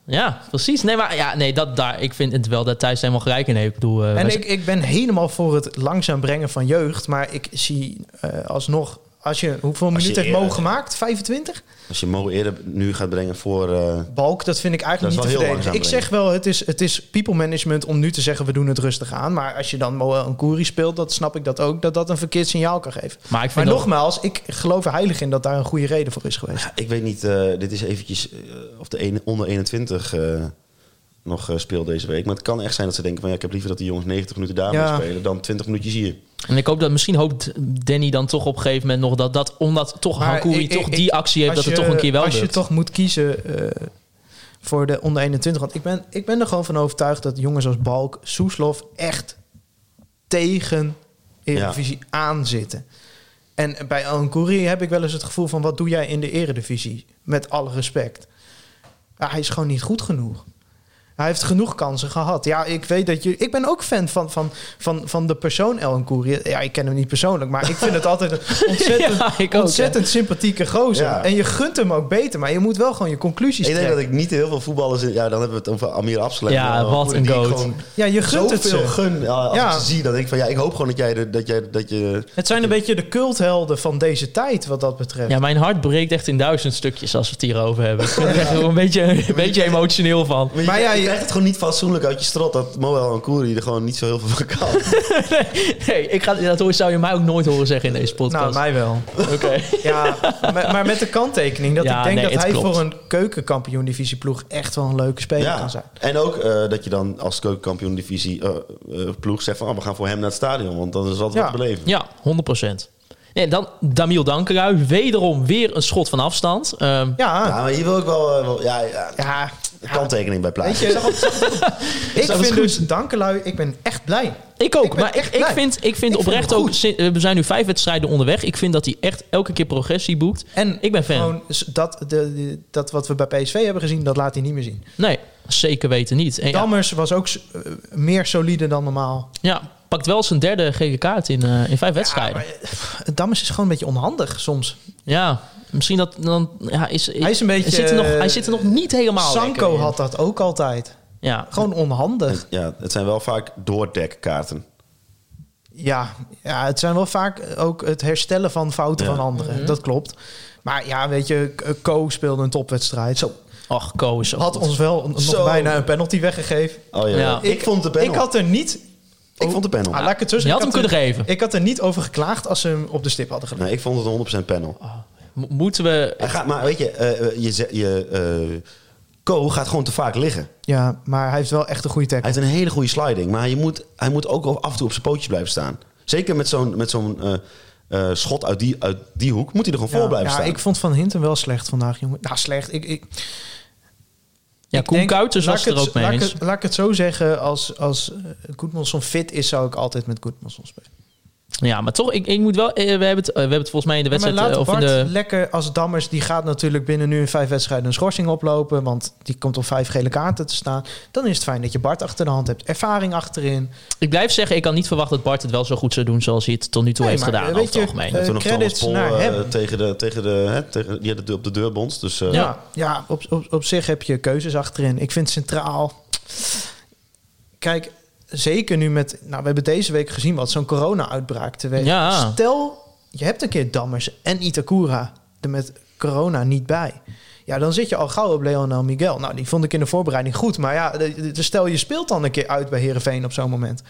Speaker 4: Ja, precies. Nee, maar ja, nee, dat, daar, ik vind het wel dat Thijs helemaal gelijk in heeft. Ik bedoel, eh, wij
Speaker 6: En
Speaker 4: zijn-
Speaker 6: ik, ik ben helemaal voor het langzaam brengen van jeugd. Maar ik zie eh, alsnog... Als je, hoeveel
Speaker 5: je
Speaker 6: minuten heeft Mo
Speaker 5: eerder-
Speaker 6: gemaakt? 25?
Speaker 5: Als je Mo eerder nu gaat brengen voor... eh,
Speaker 6: Balk, dat vind ik eigenlijk
Speaker 5: Dat
Speaker 6: niet
Speaker 5: is
Speaker 6: te
Speaker 5: wel heel
Speaker 6: verdedigen. Ik
Speaker 5: langzaam
Speaker 6: zeg wel, het is, het is people management om nu te zeggen... we doen het rustig aan. Maar als je dan Mo en Koeri speelt, dat snap ik dat ook... dat dat een verkeerd signaal kan geven.
Speaker 4: maar ik
Speaker 6: Maar
Speaker 4: vind ook-
Speaker 6: nogmaals, ik geloof er heilig in dat daar een goede reden voor is geweest.
Speaker 5: Ik weet niet, eh, dit is eventjes eh, of de ene, onder 21 eh, nog eh, speelt deze week. Maar het kan echt zijn dat ze denken van ja, ik heb liever dat die jongens 90 minuten daar
Speaker 6: Ja.
Speaker 5: moeten spelen dan 20 minuutjes hier.
Speaker 4: En ik hoop dat misschien hoopt Danny dan toch op een gegeven moment nog dat, dat omdat toch
Speaker 6: Maar
Speaker 4: Hankouri
Speaker 6: ik- ik-
Speaker 4: toch
Speaker 6: ik-
Speaker 4: die actie heeft,
Speaker 6: Als
Speaker 4: dat het toch een keer wel
Speaker 6: Als je
Speaker 4: lukt.
Speaker 6: toch moet kiezen eh, voor de onder 21. Want ik ben, ik ben er gewoon van overtuigd dat jongens als Balk, Soeslof echt tegen Eredivisie aanzitten. En bij Alan Koeri heb ik wel eens het gevoel van... wat doe jij in de Eredivisie? Met alle respect. Ja, hij is gewoon niet goed genoeg. Hij heeft genoeg kansen gehad. Ja, ik weet dat je. Ik ben ook fan van, van, van, van de persoon Ellen Koeri. Ja, ik ken hem niet persoonlijk, maar ik vind het altijd een ontzettend,
Speaker 4: Ja, ik ook,
Speaker 6: ontzettend sympathieke gozer.
Speaker 5: Ja.
Speaker 6: En je gunt hem ook beter, maar je moet wel gewoon je conclusies
Speaker 5: Ik denk
Speaker 6: trekken.
Speaker 5: dat ik niet heel veel voetballers... in- Ja, dan hebben we het over Amir Absalem.
Speaker 4: Ja,
Speaker 5: Maar
Speaker 4: wat een
Speaker 5: die ik
Speaker 4: goat.
Speaker 5: gewoon
Speaker 6: Ja, je gunt het
Speaker 5: Zoveel
Speaker 6: ze.
Speaker 5: gun. Ja, als
Speaker 6: Ja.
Speaker 5: ik ze zie, dan denk ik van ja, ik hoop gewoon dat jij... de- Dat jij dat je,
Speaker 6: Het zijn een beetje de culthelden van deze tijd, wat dat betreft.
Speaker 4: Ja, mijn hart breekt echt in duizend stukjes als we het hierover hebben. Ik ben er echt wel een beetje, een beetje emotioneel van.
Speaker 5: maar
Speaker 6: Maar
Speaker 5: je,
Speaker 6: ja,
Speaker 5: je
Speaker 6: je-
Speaker 5: krijgt het gewoon niet fatsoenlijk uit je strot dat Moel en Koeri er gewoon niet zo heel veel van kan.
Speaker 4: Nee, ik ga, dat hoor- zou je mij ook nooit horen zeggen in deze
Speaker 6: nou,
Speaker 4: podcast.
Speaker 6: mij wel.
Speaker 4: Oké.
Speaker 6: Ja, maar, maar met de kanttekening dat
Speaker 4: Ja,
Speaker 6: ik denk
Speaker 4: nee,
Speaker 6: dat
Speaker 4: het
Speaker 6: hij
Speaker 4: klopt.
Speaker 6: voor een keukenkampioen-divisieploeg echt wel een leuke speler
Speaker 5: Ja,
Speaker 6: kan zijn.
Speaker 5: en ook eh, dat je dan als keukenkampioen divisie eh, eh, ploeg zegt van oh, we gaan voor hem naar het stadion, want dan is wat
Speaker 6: Ja.
Speaker 5: wat te beleven.
Speaker 4: Ja, 100%. En dan Damiel Dankerui. Wederom weer een schot van afstand. Ehm,
Speaker 5: Ja,
Speaker 6: Ja,
Speaker 5: maar hier wil ik wel, eh, wel- ja, ja,
Speaker 6: ja.
Speaker 5: kanttekening bij
Speaker 6: Weet
Speaker 5: plaatsen.
Speaker 6: je, ik
Speaker 4: dat
Speaker 6: vind
Speaker 4: goed?
Speaker 6: dus Dankelui, ik ben echt blij.
Speaker 4: Ik ook,
Speaker 6: Ik ben
Speaker 4: maar ik,
Speaker 6: echt
Speaker 4: ik
Speaker 6: blij.
Speaker 4: vind, ik vind
Speaker 6: Ik vind
Speaker 4: oprecht
Speaker 6: hem
Speaker 4: ook...
Speaker 6: goed.
Speaker 4: sin- eh, We zijn nu vijf wedstrijden onderweg. Ik vind dat hij echt elke keer progressie boekt.
Speaker 6: En
Speaker 4: Ik ben fan.
Speaker 6: Gewoon s- dat, de, de- dat wat we bij PSV hebben gezien, dat laat hij niet meer zien.
Speaker 4: Nee, zeker weten niet. En ja,
Speaker 6: Dammers was ook s- eh, meer solide dan normaal.
Speaker 4: ja, pakt wel zijn derde gele kaart in, eh, in vijf
Speaker 6: Ja,
Speaker 4: wedstrijden.
Speaker 6: maar, eh, pff, Dammers is gewoon een beetje onhandig soms.
Speaker 4: Ja, misschien dat dan... Ja, is,
Speaker 6: Hij is een beetje,
Speaker 4: Zit er nog,
Speaker 6: eh,
Speaker 4: hij zit er nog niet helemaal lekker
Speaker 6: Sanko
Speaker 4: in.
Speaker 6: had dat ook altijd.
Speaker 4: Ja,
Speaker 6: Gewoon onhandig.
Speaker 5: Ja, het zijn wel vaak doordekkaarten.
Speaker 6: Ja, ja, het zijn wel vaak ook het herstellen van fouten
Speaker 5: Ja.
Speaker 6: van anderen.
Speaker 4: Mhm.
Speaker 6: Dat klopt. Maar ja, weet je, K- Ko speelde een topwedstrijd. Zo,
Speaker 4: ach, Ko is zo
Speaker 6: had
Speaker 4: goed.
Speaker 6: ons wel nog
Speaker 5: Zo.
Speaker 6: bijna een penalty weggegeven.
Speaker 5: Oh ja,
Speaker 4: Ja.
Speaker 5: ik, vond de panel.
Speaker 6: Ik had er niet...
Speaker 5: Ik vond de panel.
Speaker 6: Ah, laat ik het zo
Speaker 4: Je
Speaker 6: zeggen.
Speaker 4: had
Speaker 6: Ik
Speaker 4: hem
Speaker 6: er-
Speaker 4: kunnen geven.
Speaker 6: Ik had er niet over geklaagd als ze hem op de stip hadden gelegd.
Speaker 5: Nee, ik vond het een 100% panel.
Speaker 6: Oh,
Speaker 4: Mo- Moeten we...
Speaker 5: Hij gaat, maar weet je, eh, eh, je, ze- je eh, Ko gaat gewoon te vaak liggen.
Speaker 6: Ja, maar hij heeft wel echt een goede
Speaker 5: Hij
Speaker 6: tackle.
Speaker 5: heeft een hele goede sliding, maar je moet, hij moet ook af en toe op zijn pootjes blijven staan. Zeker met zo'n met zo'n eh, eh, schot uit die, uit die hoek moet hij er gewoon voor blijven
Speaker 6: ja,
Speaker 5: staan.
Speaker 6: ik vond Van Hinten wel slecht vandaag, jongen. Nou, slecht. Ik, ik,
Speaker 4: Ja,
Speaker 6: ik
Speaker 4: Koen
Speaker 6: denk-
Speaker 4: Kuiters
Speaker 6: laat
Speaker 4: was
Speaker 6: ik
Speaker 4: er
Speaker 6: het-
Speaker 4: ook mee
Speaker 6: laat ik
Speaker 4: eens.
Speaker 6: het- Laat ik het zo zeggen, als, als eh, Goedmanson fit is, zou ik altijd met Goedmanson spelen.
Speaker 4: Ja, maar toch, ik, ik moet wel... eh, We hebben, het, eh, we hebben het volgens mij in de
Speaker 6: maar
Speaker 4: wedstrijd...
Speaker 6: laat
Speaker 4: eh, of in
Speaker 6: Bart
Speaker 4: de,
Speaker 6: lekker als Dammers, die gaat natuurlijk binnen nu in vijf wedstrijden een schorsing oplopen, want die komt op vijf gele kaarten te staan. Dan is het fijn dat je Bart achter de hand hebt, ervaring achterin.
Speaker 4: ik blijf zeggen, ik kan niet verwachten dat Bart het wel zo goed zou doen... zoals hij het tot nu toe
Speaker 6: Nee,
Speaker 4: heeft
Speaker 6: maar,
Speaker 4: gedaan,
Speaker 6: eh,
Speaker 4: over
Speaker 6: weet
Speaker 4: het
Speaker 6: je,
Speaker 4: algemeen.
Speaker 6: eh,
Speaker 5: Toen nog Thomas
Speaker 6: credits
Speaker 5: Pol
Speaker 6: naar
Speaker 5: eh,
Speaker 6: hem.
Speaker 5: tegen de, tegen de, hè, tegen, die had de deur op de deur bonst. Dus eh,
Speaker 4: Ja.
Speaker 6: Ja, ja op, op, op zich heb je keuzes achterin. Ik vind centraal. Kijk, zeker nu met. Nou, we hebben deze week gezien wat zo'n corona-uitbraak teweeg.
Speaker 4: Ja.
Speaker 6: Stel, je hebt een keer Dammers en Itakura er met corona niet bij. Ja, dan zit je al gauw op Leonel Miguel. Nou, die vond ik in de voorbereiding goed. Maar ja, de- de- stel je speelt dan een keer uit bij Herenveen op zo'n moment.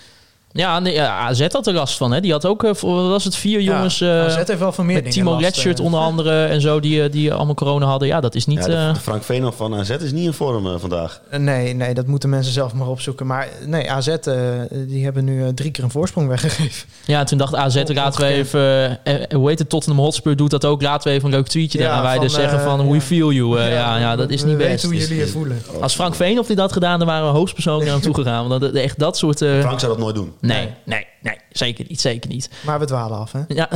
Speaker 4: Ja, nee, ja, AZ had er last van. Hè. Die had ook, eh, voor- wat was het, vier jongens...
Speaker 6: ja,
Speaker 4: eh,
Speaker 6: AZ heeft wel van meer
Speaker 4: met
Speaker 6: dingen
Speaker 4: Timo
Speaker 6: last,
Speaker 4: Redshirt
Speaker 6: eh.
Speaker 4: onder andere en zo, die, eh, die allemaal corona hadden. Ja, dat is niet...
Speaker 5: ja, de-
Speaker 4: eh,
Speaker 5: de Frank Veenhoff van AZ is niet in vorm eh, vandaag.
Speaker 6: Nee, nee, dat moeten mensen zelf maar opzoeken. Maar nee, AZ, eh, die hebben nu eh, drie keer een voorsprong weggegeven.
Speaker 4: Ja, toen dacht AZ, laten we even... eh, eh, hoe heet het? Tottenham Hotspur doet dat ook. Laten we even een leuk tweetje
Speaker 6: Ja,
Speaker 4: daaraan wij
Speaker 6: van,
Speaker 4: dus zeggen
Speaker 6: eh,
Speaker 4: van...
Speaker 6: ja.
Speaker 4: We feel you. Eh, ja, ja, dat is niet
Speaker 6: we
Speaker 4: best.
Speaker 6: weten hoe jullie
Speaker 5: Is-
Speaker 6: je
Speaker 5: is-
Speaker 6: voelen.
Speaker 4: Als Frank Veenhoff dit had gedaan, dan waren we hoogstpersoonlijk naar hem toegegaan. Want dat, echt dat soort... eh,
Speaker 5: Frank zou dat nooit doen.
Speaker 4: nee, nee, nee. Zeker niet, zeker niet.
Speaker 6: Maar we dwalen af, hè?
Speaker 4: Ja,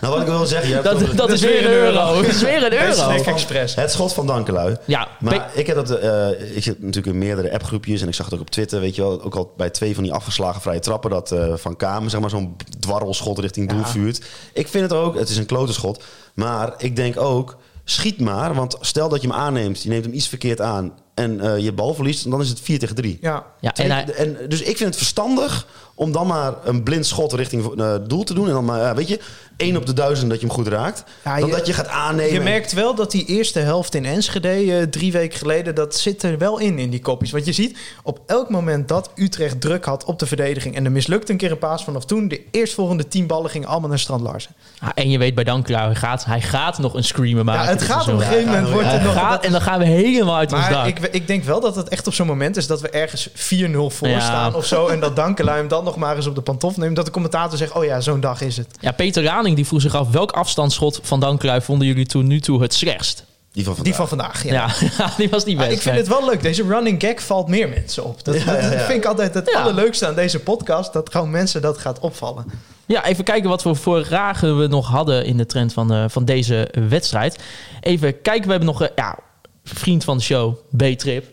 Speaker 5: Nou, wat ik wil zeggen, je hebt
Speaker 4: dat,
Speaker 5: het over-
Speaker 4: dat is weer een euro. Dat is weer een euro.
Speaker 5: Van- Het schot van Dankelui.
Speaker 4: Ja,
Speaker 5: Maar
Speaker 4: Pe-
Speaker 5: ik heb dat. eh, ik zit natuurlijk in meerdere appgroepjes en ik zag het ook op Twitter. Weet je wel, ook al bij twee van die afgeslagen vrije trappen dat eh, van Kamer zeg maar zo'n dwarrelschot richting doel vuurt. Ik vind het ook. Het is een klote schot, maar ik denk ook schiet maar, want stel dat je hem aanneemt, je neemt hem iets verkeerd aan en eh, je bal verliest, dan is het 4 tegen 3.
Speaker 6: Ja.
Speaker 4: ja, en
Speaker 5: En
Speaker 4: hij,
Speaker 5: en, dus ik vind het verstandig om dan maar een blind schot richting eh, doel te doen. En dan maar, ja, weet je, één op de duizend dat je hem goed raakt.
Speaker 6: Ja,
Speaker 5: dan
Speaker 6: je-
Speaker 5: dat je gaat aannemen.
Speaker 6: Je
Speaker 5: en-
Speaker 6: merkt wel dat die eerste helft in Enschede eh, drie weken geleden, dat zit er wel in, in die kopjes. Want je ziet op elk moment dat Utrecht druk had op de verdediging en er mislukt een keer een paas vanaf toen, de eerstvolgende tien ballen gingen allemaal naar Strand Larsen.
Speaker 4: ah, en je weet bij Dankelaar, hij gaat, hij gaat nog een screamer maken.
Speaker 6: Ja, het
Speaker 4: dit
Speaker 6: gaat op
Speaker 4: seizoen.
Speaker 6: een gegeven moment, wordt het
Speaker 4: Hij
Speaker 6: nog...
Speaker 4: gaat, en dan gaan we helemaal uit ons dak.
Speaker 6: Maar ik, ik denk wel dat het echt op zo'n moment is dat we ergens 4-0 voor
Speaker 4: Ja.
Speaker 6: staan of zo. En dat Dankelui hem dan nog maar eens op de pantof neemt. Dat de commentator zegt, oh ja, zo'n dag is het.
Speaker 4: Ja, Peter Raning die vroeg zich af welk afstandsschot van Dankelui vonden jullie tot nu toe het slechtst?
Speaker 5: Die van vandaag.
Speaker 6: Die van vandaag, ja.
Speaker 4: Ja, die was niet
Speaker 6: Maar
Speaker 4: best.
Speaker 6: ik vind
Speaker 4: nee.
Speaker 6: het wel leuk. Deze running gag valt meer mensen op. Dat, dat vind ik altijd het
Speaker 4: Ja.
Speaker 6: allerleukste aan deze podcast. Dat gewoon mensen dat gaat opvallen.
Speaker 4: Ja, even kijken wat voor vragen we nog hadden in de trend van, eh, van deze wedstrijd. Even kijken, we hebben nog eh, ja, vriend van de show, B-Trip.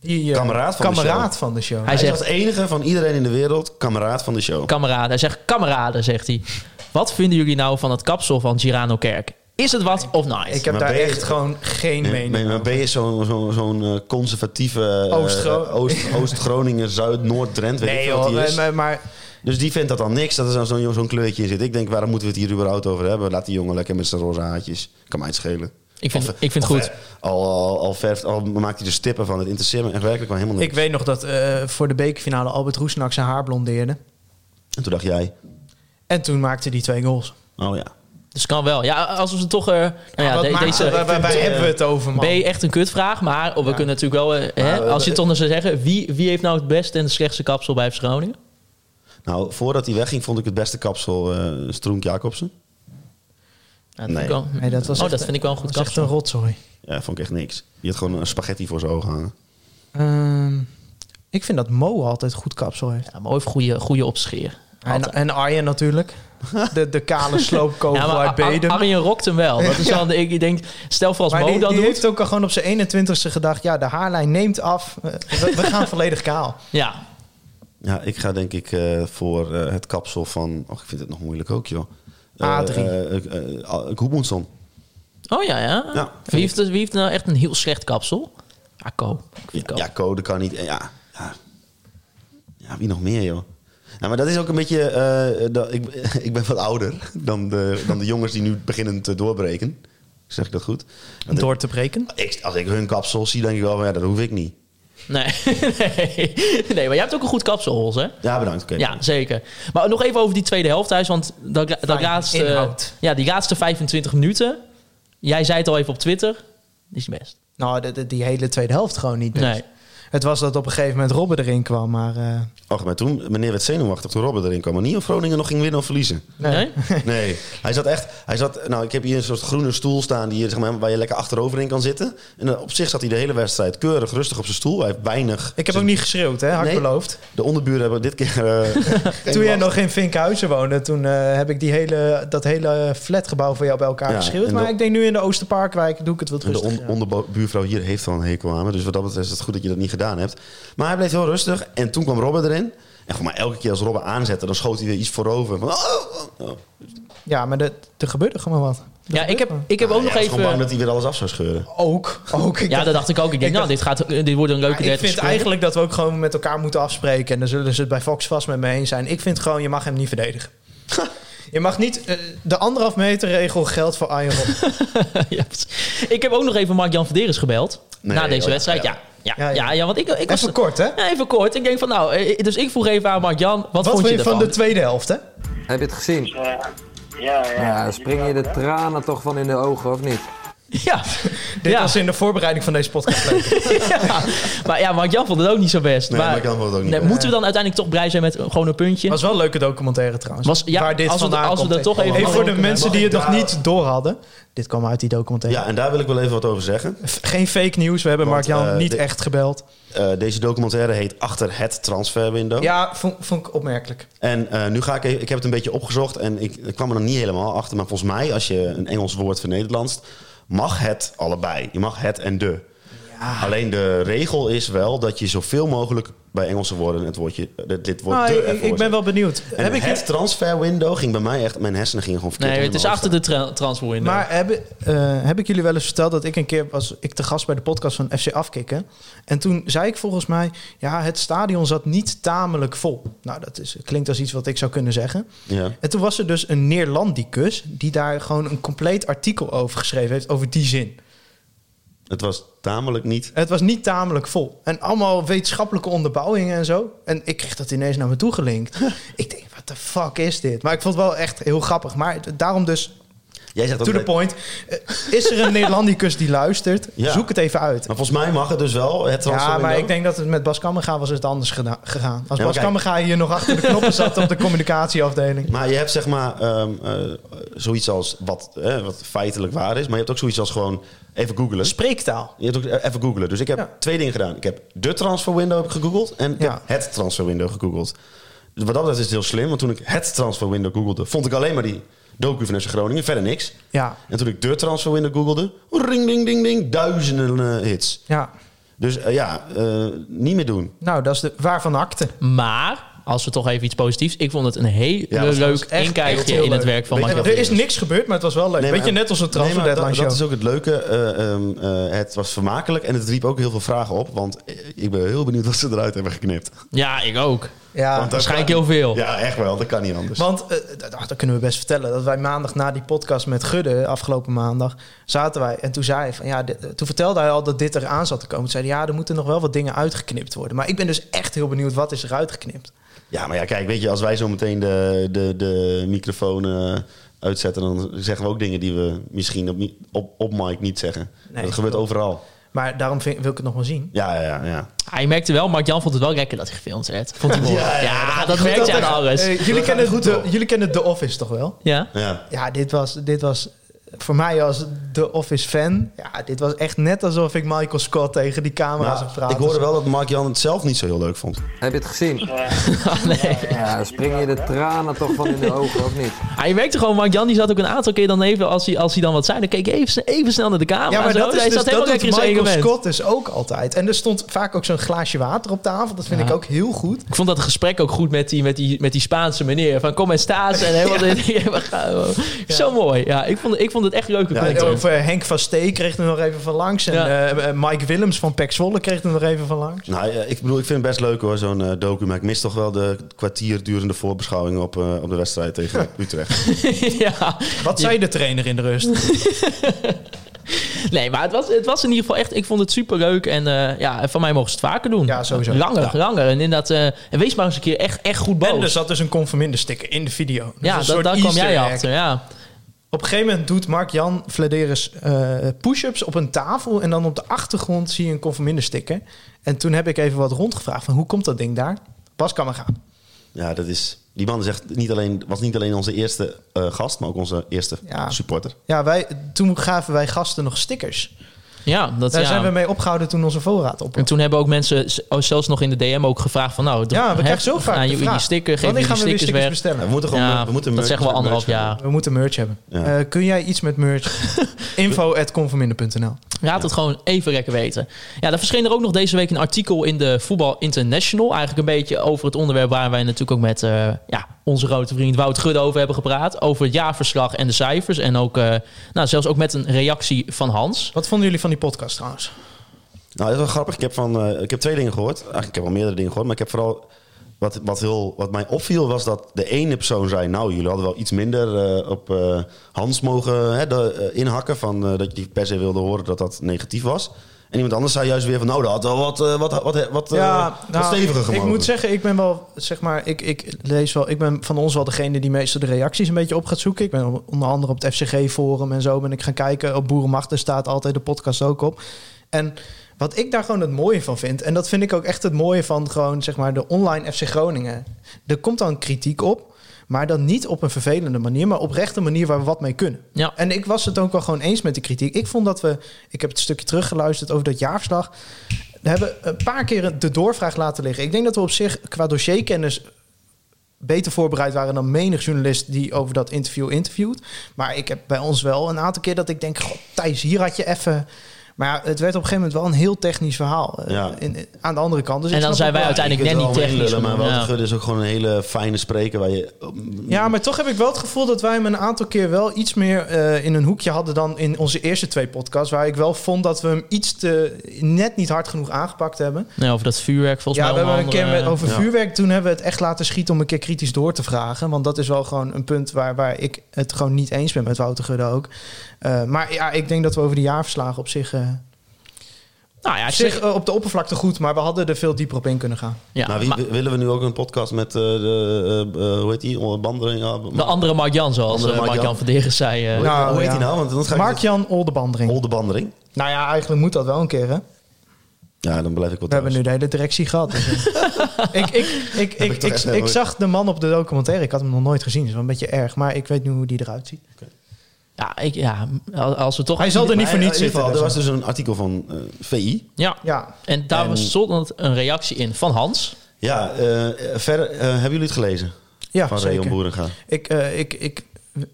Speaker 6: Die, eh,
Speaker 5: Kameraad van de
Speaker 6: kameraad
Speaker 5: show.
Speaker 6: van de show.
Speaker 4: Hij
Speaker 5: Hij
Speaker 4: zegt,
Speaker 5: is als enige van iedereen in de wereld kameraad van de show.
Speaker 4: kameraden, hij zegt, kameraden, zegt hij. Wat vinden jullie nou van het kapsel van Girano Kerk? Is het wat of nice?
Speaker 6: Ik heb
Speaker 5: Maar
Speaker 6: daar
Speaker 5: ben je-
Speaker 6: echt gewoon geen
Speaker 5: Nee,
Speaker 6: mening
Speaker 5: maar- maar
Speaker 6: over.
Speaker 5: ben je zo'n zo'n zo'n, eh, conservatieve eh,
Speaker 6: Oost-Gro-
Speaker 5: eh, Oost- Oost-Groningen, Zuid, Noord-Drent, weet
Speaker 6: Nee
Speaker 5: ik veel wat
Speaker 6: joh,
Speaker 5: die
Speaker 6: maar,
Speaker 5: is.
Speaker 6: maar, maar
Speaker 5: Dus die vindt dat dan niks, dat er zo'n zo'n- zo'n kleurtje in zit. Ik denk, waarom moeten we het hier überhaupt over hebben? Laat die jongen lekker met zijn roze haartjes. Kan mij het schelen.
Speaker 4: Ik vind-
Speaker 5: Al ver-
Speaker 4: ik vind het
Speaker 5: al
Speaker 4: goed.
Speaker 5: ver- Al, al, al verft, al maakt hij er stippen van. Het interesseert me echt werkelijk wel helemaal
Speaker 6: ik
Speaker 5: niks.
Speaker 6: weet nog dat eh, voor de bekerfinale Albert Roesnak zijn haar blondeerde.
Speaker 5: En toen dacht jij,
Speaker 6: En toen maakte hij twee goals.
Speaker 5: oh ja.
Speaker 4: Dus kan wel. Ja, als we ze toch... eh, nou ja,
Speaker 6: Wat
Speaker 4: de-
Speaker 6: maakt-
Speaker 4: deze,
Speaker 6: waar, waar- waar
Speaker 5: eh,
Speaker 6: hebben we het over, man?
Speaker 4: B echt een kutvraag, maar we kunnen natuurlijk wel... eh, hè,
Speaker 5: Maar, eh,
Speaker 4: als je het onder zou zeggen, wie, wie heeft nou het beste en het slechtste kapsel bij FC Groningen?
Speaker 5: Nou, voordat hij wegging vond ik het beste kapsel eh Stroenk Jacobsen.
Speaker 4: Ja, dat vind
Speaker 5: Nee.
Speaker 4: ik wel-
Speaker 6: Nee, dat was
Speaker 4: oh,
Speaker 6: echt-
Speaker 4: dat vind ik wel een goed
Speaker 6: Dat is echt
Speaker 4: kapsel.
Speaker 6: een rotzooi.
Speaker 5: Ja, vond ik echt niks. Die had gewoon een spaghetti voor zijn ogen hangen.
Speaker 6: Ehm, ik vind dat Mo altijd goed kapsel heeft.
Speaker 4: Ja, maar ook goede, goede opscheer.
Speaker 6: En, en Arjen natuurlijk. De, de kale sloopkogel
Speaker 4: Ja, maar
Speaker 6: uit
Speaker 4: Ar-
Speaker 6: Bedum.
Speaker 4: Ar- Arjen rokt hem wel. Dat is
Speaker 6: Ja.
Speaker 4: dan, ik denk, stel voor als
Speaker 6: maar
Speaker 4: Mo
Speaker 6: die,
Speaker 4: dat
Speaker 6: die
Speaker 4: doet.
Speaker 6: heeft ook al gewoon op zijn 21ste gedacht... ja, de haarlijn neemt af. We, we gaan volledig kaal.
Speaker 4: Ja,
Speaker 5: Ja, ik ga denk ik eh, voor eh, het kapsel van... Och, ik vind het nog moeilijk ook, joh.
Speaker 6: A3.
Speaker 5: eh eh, eh, Goedmundsson.
Speaker 4: Oh ja, ja.
Speaker 5: Ja,
Speaker 4: wie, heeft, wie heeft nou echt een heel slecht kapsel? Ja, Ko. Ik vind Ko.
Speaker 5: Ja, code kan niet. eh, Ja, ja. ja wie nog meer, joh. Ja, maar dat is ook een beetje... eh, dat, ik, ik ben wat ouder dan de, dan de jongens die nu beginnen te doorbreken. Zeg ik dat goed? Want
Speaker 6: Door te breken.
Speaker 5: ik- ik- als ik hun kapsel zie, denk ik wel... van, Ja, dat hoef ik niet.
Speaker 4: Nee. nee. Nee, maar jij hebt ook een goed kapsel, Hols, hè?
Speaker 5: Ja, bedankt. oké.
Speaker 4: Ja, zeker. Maar nog even over die tweede helft thuis. Want dat, dat laatste,
Speaker 6: inhoud.
Speaker 4: ja, die laatste 25 minuten. Jij zei het al even op Twitter. Is niet best.
Speaker 6: Nou, de, de- die hele tweede helft gewoon niet best.
Speaker 4: Nee.
Speaker 6: Het was dat op een gegeven moment Robben erin kwam, maar... eh,
Speaker 5: Och, maar toen, meneer werd zenuwachtig toen Robben erin kwam. Maar niet of Groningen nog ging winnen of verliezen.
Speaker 4: Nee?
Speaker 5: Nee, hij zat echt. Hij zat, nou, ik heb hier een soort groene stoel staan die, je, zeg maar, waar je lekker achterover in kan zitten. En eh, op zich zat hij de hele wedstrijd keurig rustig op zijn stoel. Hij heeft weinig.
Speaker 6: Ik heb ook niet geschreeuwd, hè, had ik
Speaker 5: Nee.
Speaker 6: beloofd.
Speaker 5: De onderburen hebben dit keer. eh, geen
Speaker 6: Toen jij
Speaker 5: last.
Speaker 6: nog in Vinkhuizen woonde, toen eh, heb ik die hele, dat hele flatgebouw voor jou bij elkaar
Speaker 5: Ja,
Speaker 6: geschreeuwd.
Speaker 5: en
Speaker 6: Maar
Speaker 5: de-
Speaker 6: ik denk nu in de Oosterparkwijk doe ik het wat
Speaker 5: En De on
Speaker 6: rustiger.
Speaker 5: onderbuurvrouw hier heeft wel een hekel aan me. Dus wat dat betreft is het goed dat je dat niet gedaan hebt. Maar hij bleef heel rustig. En toen kwam Robben erin. En voor mij elke keer als Robben aanzette, dan schoot hij weer iets voorover. Van, oh, oh, oh.
Speaker 6: Ja, maar dat- er gebeurde gewoon wat.
Speaker 4: Ja, ik heb, ik heb
Speaker 5: Ah,
Speaker 4: ook
Speaker 5: ja,
Speaker 4: nog
Speaker 5: hij was gewoon bang
Speaker 4: even...
Speaker 5: dat hij weer alles af zou scheuren.
Speaker 6: Ook. ook ik
Speaker 4: Ja, dat dacht ik ook. Ik denk,
Speaker 6: Ik
Speaker 4: nou, dit, gaat, dit wordt een leuke
Speaker 6: Maar ik
Speaker 4: 30
Speaker 6: vind
Speaker 4: seconden.
Speaker 6: eigenlijk dat we ook gewoon met elkaar moeten afspreken. En dan zullen ze het bij Fox vast met me eens zijn. Ik vind gewoon, je mag hem niet verdedigen. Je mag niet... eh, de anderhalf meter regel geldt voor Arjen Robben.
Speaker 4: Ja, precies. Ik heb ook nog even Mark-Jan Verderes gebeld.
Speaker 5: Nee,
Speaker 4: na deze
Speaker 5: oh,
Speaker 4: wedstrijd, ja.
Speaker 5: ja.
Speaker 4: Ja, ja,
Speaker 6: Ja, ja.
Speaker 4: ja, want ik, ik was...
Speaker 6: Even kort, hè?
Speaker 4: Ja, even kort. Ik denk van, nou, eh, dus ik vroeg even aan Mark-Jan, wat,
Speaker 6: Wat
Speaker 4: vond
Speaker 6: vond
Speaker 4: je
Speaker 6: je van
Speaker 4: ervan?
Speaker 6: de tweede helft, hè?
Speaker 7: Heb je het gezien?
Speaker 8: Ja, ja.
Speaker 7: Ja, dan springen je de tranen toch van in de ogen, of niet?
Speaker 4: Ja.
Speaker 6: Dit
Speaker 4: ja.
Speaker 6: was in de voorbereiding van deze podcast.
Speaker 4: ja. Maar ja, Mark-Jan vond het ook niet zo best.
Speaker 5: Nee,
Speaker 4: maar,
Speaker 5: maar ik kan het ook niet.
Speaker 4: Nee, moeten we dan uiteindelijk toch blij zijn met eh, gewoon een puntje?
Speaker 6: was wel een leuke documentaire trouwens.
Speaker 4: Was- ja,
Speaker 6: waar dit
Speaker 4: als we-
Speaker 6: vandaan
Speaker 4: als we
Speaker 6: komt.
Speaker 4: er toch even-
Speaker 6: Hey, voor de
Speaker 4: Mag
Speaker 6: mensen die
Speaker 5: ik
Speaker 6: het nog
Speaker 5: daar-
Speaker 6: niet door hadden. Dit kwam uit die documentaire.
Speaker 5: Ja, en daar wil ik wel even wat over zeggen.
Speaker 6: F- Geen fake nieuws. We hebben
Speaker 5: Want,
Speaker 6: Mark-Jan
Speaker 5: eh,
Speaker 6: niet
Speaker 5: de-
Speaker 6: echt gebeld.
Speaker 5: Eh, deze documentaire heet Achter het transferwindow.
Speaker 6: Ja, vond, vond ik opmerkelijk.
Speaker 5: En eh, nu ga ik even, ik heb het een beetje opgezocht en ik, ik kwam er nog niet helemaal achter. Maar volgens mij, als je een Engels woord vernederlandst, mag het allebei. Je mag het en de. Alleen de regel is wel dat je zoveel mogelijk bij Engelse woorden het woordje, dit- dit woord
Speaker 6: Ah,
Speaker 5: de
Speaker 6: ik,
Speaker 5: ervoor
Speaker 6: ik ben
Speaker 5: zet.
Speaker 6: wel benieuwd.
Speaker 5: En
Speaker 6: Heb ik
Speaker 5: het
Speaker 6: niet-
Speaker 5: transfer window ging bij mij echt, mijn hersenen gingen gewoon verkeerd.
Speaker 4: nee,
Speaker 5: om
Speaker 4: het is
Speaker 5: mijn
Speaker 4: achter
Speaker 5: hoofd.
Speaker 4: de tra transfer window.
Speaker 6: Maar heb, eh, heb ik jullie wel eens verteld dat ik een keer was ik te gast bij de podcast van FC Afkikken. En toen zei ik volgens mij, ja, het stadion zat niet tamelijk vol. Nou, dat is, klinkt als iets wat ik zou kunnen zeggen.
Speaker 5: Ja.
Speaker 6: En toen was er dus een Neerlandicus die daar gewoon een compleet artikel over geschreven heeft, over die zin.
Speaker 5: Het was tamelijk niet.
Speaker 6: Het was niet tamelijk vol. En allemaal wetenschappelijke onderbouwingen en zo. En ik kreeg dat ineens naar me toe gelinkt. ik denk, wat de fuck is dit? Maar ik vond het wel echt heel grappig. Maar daarom dus
Speaker 5: Jij zegt ook
Speaker 6: To the
Speaker 5: dat-
Speaker 6: point. Eh, Is er een Nederlandicus die luistert?
Speaker 5: Ja.
Speaker 6: Zoek het even uit.
Speaker 5: Maar volgens mij mag het dus wel, het transfer
Speaker 6: Ja, maar
Speaker 5: window.
Speaker 6: ik denk dat het met Bas Kammerga was het anders geda- gegaan. Als
Speaker 5: Ja, maar
Speaker 6: Bas
Speaker 5: kijk.
Speaker 6: Kammerga hier nog achter de knoppen zat op de communicatieafdeling.
Speaker 5: Maar je hebt zeg maar ehm, eh, zoiets als wat, eh, wat feitelijk waar is. Maar je hebt ook zoiets als gewoon even googelen.
Speaker 6: Spreektaal.
Speaker 5: Je hebt ook eh, even googelen. Dus ik heb
Speaker 6: Ja.
Speaker 5: twee dingen gedaan. Ik heb de transfer window heb ik gegoogeld en ik
Speaker 6: Ja.
Speaker 5: heb het transfer window gegoogeld. Dus wat dat betreft is het heel slim. Want toen ik het transfer window googelde, vond ik alleen maar die docu van FC Groningen. Verder niks.
Speaker 6: Ja.
Speaker 5: En toen ik de transfer window googelde, ring ding ding ding, duizenden eh, hits.
Speaker 6: ja.
Speaker 5: Dus eh, ja, eh, niet meer doen.
Speaker 6: Nou, dat is de waarvan akte.
Speaker 4: Maar, als we toch even iets positiefs... Ik vond het een heel
Speaker 5: Ja, dat was
Speaker 4: leuk
Speaker 6: echt-
Speaker 4: inkijkje
Speaker 6: echt heel
Speaker 4: in het
Speaker 6: leuk.
Speaker 4: werk van
Speaker 5: Weet je
Speaker 4: Mark-Jan
Speaker 6: Er is
Speaker 4: Verderes.
Speaker 6: niks gebeurd, maar het was wel leuk.
Speaker 5: Nee,
Speaker 6: Weet
Speaker 5: maar-
Speaker 6: je, net als een transfer
Speaker 5: maar
Speaker 6: deadline
Speaker 5: dat, dat
Speaker 6: show.
Speaker 5: is ook het leuke. eh, ehm, eh, het was vermakelijk en het riep ook heel veel vragen op. Want eh, ik ben heel benieuwd wat ze eruit hebben geknipt.
Speaker 6: Ah,
Speaker 4: Ja, ik ook.
Speaker 6: Ja.
Speaker 5: Want dat-
Speaker 4: Waarschijnlijk heel veel.
Speaker 5: Ja, echt wel. Dat kan niet anders.
Speaker 6: Want eh, dat, dat kunnen we best vertellen. Dat wij maandag na die podcast met Gudde, afgelopen maandag, zaten wij. En toen zei hij van ja, dit- eh, toen vertelde hij al dat dit eraan zat te komen. Toen zei hij, ja, er moeten nog wel wat dingen uitgeknipt worden. Maar ik ben dus echt heel benieuwd wat is er uitgeknipt.
Speaker 5: Ja, maar ja, kijk, weet je, als wij zo meteen de, de, de microfoon eh, uitzetten, dan zeggen we ook dingen die we misschien op, mi- op, op mic niet zeggen.
Speaker 6: Nee,
Speaker 5: dat gebeurt overal.
Speaker 6: Maar daarom vind- wil ik het nog wel zien.
Speaker 5: Ja, ja, ja, ja.
Speaker 4: Hij merkte wel, Mark-Jan vond het wel lekker dat hij gefilmd werd. Vond hij mooi.
Speaker 5: Ja,
Speaker 4: Ja,
Speaker 5: ja,
Speaker 4: dat merkte hij aan alles.
Speaker 6: Eh, jullie,
Speaker 5: gaat
Speaker 6: kennen
Speaker 5: goed
Speaker 6: de,
Speaker 5: op.
Speaker 6: jullie kennen The Office toch wel?
Speaker 4: ja.
Speaker 5: ja.
Speaker 6: Ja, dit was, dit was voor mij als The Office fan. Ja, dit was echt net alsof ik Michael Scott tegen die camera
Speaker 5: Maar
Speaker 6: zou praten.
Speaker 5: Nou, ik hoorde wel dat Mark Jan het zelf niet zo heel leuk vond.
Speaker 7: Heb je het gezien?
Speaker 6: Ah,
Speaker 4: nee.
Speaker 7: Ja, dan springen je de tranen toch van in de ogen, of niet?
Speaker 4: Hij Ah, merkte gewoon, Mark-Jan die zat ook een aantal keer dan even... Als hij, als hij dan wat zei, dan keek hij even, even snel naar de camera.
Speaker 6: Ja, maar
Speaker 4: zo.
Speaker 6: dat is
Speaker 4: hij
Speaker 6: dus,
Speaker 4: zat helemaal
Speaker 6: dat doet
Speaker 4: lekker in zijn
Speaker 6: Michael
Speaker 4: element.
Speaker 6: Scott dus ook altijd. En er stond vaak ook zo'n glaasje water op tafel. Dat vind
Speaker 4: Ja.
Speaker 6: ik ook heel goed.
Speaker 4: Ik vond dat gesprek ook goed met die, met die, met die Spaanse meneer. Van kom en staas en helemaal... dit- ja, we gaan gewoon. Zo mooi. Ja, ik vond, ik vond het echt leuke
Speaker 6: En
Speaker 4: content.
Speaker 6: Of, eh, Henk van Stee kreeg er nog even van langs. En
Speaker 4: Ja.
Speaker 6: eh, eh, Mike Willems van Pek Zwolle kreeg er nog even van langs.
Speaker 5: Nou, eh, ik bedoel, ik vind het best leuk hoor, zo'n eh, docu. Maar ik mis toch wel de kwartier durende voorbeschouwing op, eh, op de wedstrijd tegen Utrecht.
Speaker 4: ja.
Speaker 6: Wat zei de trainer in de rust?
Speaker 4: Nee, maar het was, het was in ieder geval echt... Ik vond het superleuk. En eh, ja, van mij mogen ze het vaker doen.
Speaker 6: Ja, sowieso.
Speaker 4: Langer, langer. En inderdaad, eh, en wees maar eens een keer echt, echt goed boos.
Speaker 6: En er zat dus een conforminder sticker in de video. Dus
Speaker 4: ja,
Speaker 6: een
Speaker 4: dat,
Speaker 6: soort
Speaker 4: daar kwam
Speaker 6: easter
Speaker 4: jij
Speaker 6: egg.
Speaker 4: achter. Ja.
Speaker 6: Op een gegeven moment doet Mark-Jan Vladeris eh, push-ups op een tafel. En dan op de achtergrond zie je een conforminder sticker. En toen heb ik even wat rondgevraagd van hoe komt dat ding daar? Pas kan maar gaan.
Speaker 5: Ja, dat is. Die man is echt niet alleen, was niet alleen onze eerste eh, gast, maar ook onze eerste
Speaker 6: Ja.
Speaker 5: supporter.
Speaker 6: Ja, wij, toen gaven wij gasten nog stickers.
Speaker 4: Ja, dat
Speaker 6: Daar
Speaker 4: ja.
Speaker 6: zijn we mee opgehouden toen onze voorraad op.
Speaker 4: En toen hebben ook mensen z- oh, zelfs nog in de DM ook gevraagd van... Nou,
Speaker 6: Ja, we
Speaker 4: hè,
Speaker 6: krijgen zo vaak
Speaker 4: aan
Speaker 6: de
Speaker 4: jullie
Speaker 6: vraag,
Speaker 4: sticker, geef
Speaker 6: wanneer
Speaker 4: jullie
Speaker 6: gaan we weer
Speaker 4: stickers,
Speaker 6: stickers
Speaker 4: weg.
Speaker 6: bestellen?
Speaker 5: We moeten gewoon. eh,
Speaker 4: Ja,
Speaker 5: we
Speaker 4: dat
Speaker 5: moeten merch-
Speaker 4: zeggen we
Speaker 5: merch-
Speaker 4: anderhalf jaar.
Speaker 6: We moeten merch hebben.
Speaker 5: Ja.
Speaker 6: Eh, kun jij iets met merch? Info@conforminder.nl.
Speaker 4: Laat het gewoon even lekker weten. Ja, er verscheen er ook nog deze week een artikel in de Voetbal International. Eigenlijk een beetje over het onderwerp waar wij natuurlijk ook met eh, ja, onze grote vriend Wout Gudde over hebben gepraat. Over het jaarverslag en de cijfers. En ook, eh, nou, zelfs ook met een reactie van Hans.
Speaker 6: Wat vonden jullie van die podcast trouwens?
Speaker 5: Nou, dat is wel grappig. Ik heb, van, eh, ik heb twee dingen gehoord. Eigenlijk, ik heb wel meerdere dingen gehoord. Maar ik heb vooral... Wat, wat, heel, wat mij opviel was dat de ene persoon zei... Nou, jullie hadden wel iets minder eh, op eh, Hans mogen hè, de, eh, inhakken... Van, eh, dat je per se wilde horen dat dat negatief was. En iemand anders zei juist weer van... Nou, dat had wel wat, eh, wat, wat, wat, eh, wat
Speaker 6: nou,
Speaker 5: steviger
Speaker 6: ik, ik
Speaker 5: gemaakt.
Speaker 6: moet zeggen, ik ben wel, zeg maar, ik, ik lees wel, ik ben van ons wel degene die meestal de reacties een beetje op gaat zoeken. Ik ben onder andere op het FCG-forum en zo ben ik gaan kijken. Op Boerenmacht, daar staat altijd de podcast ook op. En wat ik daar gewoon het mooie van vind, en dat vind ik ook echt het mooie van gewoon, zeg maar, de online FC Groningen. Er komt dan kritiek op, maar dan niet op een vervelende manier, maar oprechte manier waar we wat mee kunnen.
Speaker 4: Ja.
Speaker 6: En ik was het ook wel gewoon eens met de kritiek. Ik vond dat we, ik heb het stukje teruggeluisterd over dat jaarverslag. We hebben een paar keer de doorvraag laten liggen. Ik denk dat we op zich qua dossierkennis beter voorbereid waren dan menig journalist die over dat interview interviewt. Maar ik heb bij ons wel een aantal keer dat ik denk, god Thijs, hier had je even... Maar ja, het werd op een gegeven moment wel een heel technisch verhaal. eh,
Speaker 5: Ja.
Speaker 6: in- aan de andere kant. Dus ik
Speaker 4: en dan
Speaker 6: snap
Speaker 4: zijn wij
Speaker 6: ook wel-
Speaker 4: uiteindelijk net
Speaker 5: wel
Speaker 4: niet
Speaker 5: meelullen,
Speaker 4: technisch.
Speaker 5: maar Wouter
Speaker 4: Ja.
Speaker 5: Gudde is ook gewoon een hele fijne spreker... eh, waar je
Speaker 6: Ja, maar toch heb ik wel het gevoel dat wij hem een aantal keer wel iets meer eh, in een hoekje hadden dan in onze eerste twee podcasts. Waar ik wel vond dat we hem iets te net niet hard genoeg aangepakt hebben.
Speaker 4: Nee, over dat vuurwerk volgens
Speaker 6: ja,
Speaker 4: mij.
Speaker 6: we hebben een
Speaker 4: onder
Speaker 6: keer
Speaker 4: andere-
Speaker 6: met, over
Speaker 5: Ja.
Speaker 6: vuurwerk. Toen hebben we het echt laten schieten om een keer kritisch door te vragen. Want dat is wel gewoon een punt waar, waar ik het gewoon niet eens ben met Wouter Gudde ook. Eh, maar ja, ik denk dat we over de jaarverslagen op zich, eh,
Speaker 4: Nou ja,
Speaker 6: op,
Speaker 4: ik
Speaker 6: zich
Speaker 4: zeg...
Speaker 6: eh, op de oppervlakte goed. Maar we hadden er veel dieper op in kunnen gaan.
Speaker 4: Ja,
Speaker 5: nou, wie,
Speaker 4: maar
Speaker 5: willen we nu ook een podcast met eh, de, eh, eh, hoe heet die, Oh, Bandering? Ja,
Speaker 4: de andere Mark Jan, zoals
Speaker 5: Andere
Speaker 4: eh, Mark
Speaker 5: Mark
Speaker 4: Jan
Speaker 5: Jan.
Speaker 4: Verderes zei. eh,
Speaker 5: Hoe- hoe heet
Speaker 6: ja.
Speaker 5: die nou? Want dan ga ik
Speaker 6: Mark-Jan Oldebandring.
Speaker 5: Holde Bandering.
Speaker 6: nou ja, eigenlijk moet dat wel een keer hè.
Speaker 5: Ja, dan blijf ik wel
Speaker 6: We hebben
Speaker 5: thuis.
Speaker 6: nu de hele directie gehad. Dus, eh, ik, ik, ik, ik,
Speaker 5: ik
Speaker 6: ik,
Speaker 5: toch echt
Speaker 6: ik,
Speaker 5: helemaal-
Speaker 6: zag de man op de documentaire. Ik had hem nog nooit gezien. Dat is wel een beetje erg. Maar ik weet nu hoe die eruit ziet.
Speaker 4: Ja, ik, ja, als we toch...
Speaker 6: Hij zal er niet voor
Speaker 5: Maar
Speaker 6: niets
Speaker 5: in ieder
Speaker 6: zitten.
Speaker 5: geval,
Speaker 6: dus.
Speaker 5: Er was dus een artikel van eh, VI.
Speaker 4: Ja.
Speaker 6: Ja.
Speaker 4: En daar
Speaker 5: En-
Speaker 4: was stond een reactie in van Hans.
Speaker 5: Ja, eh, eh, verder, eh, hebben jullie het gelezen?
Speaker 6: Ja,
Speaker 5: van
Speaker 6: zeker.
Speaker 5: Rayon Boerenga.
Speaker 6: Ik, eh, ik, ik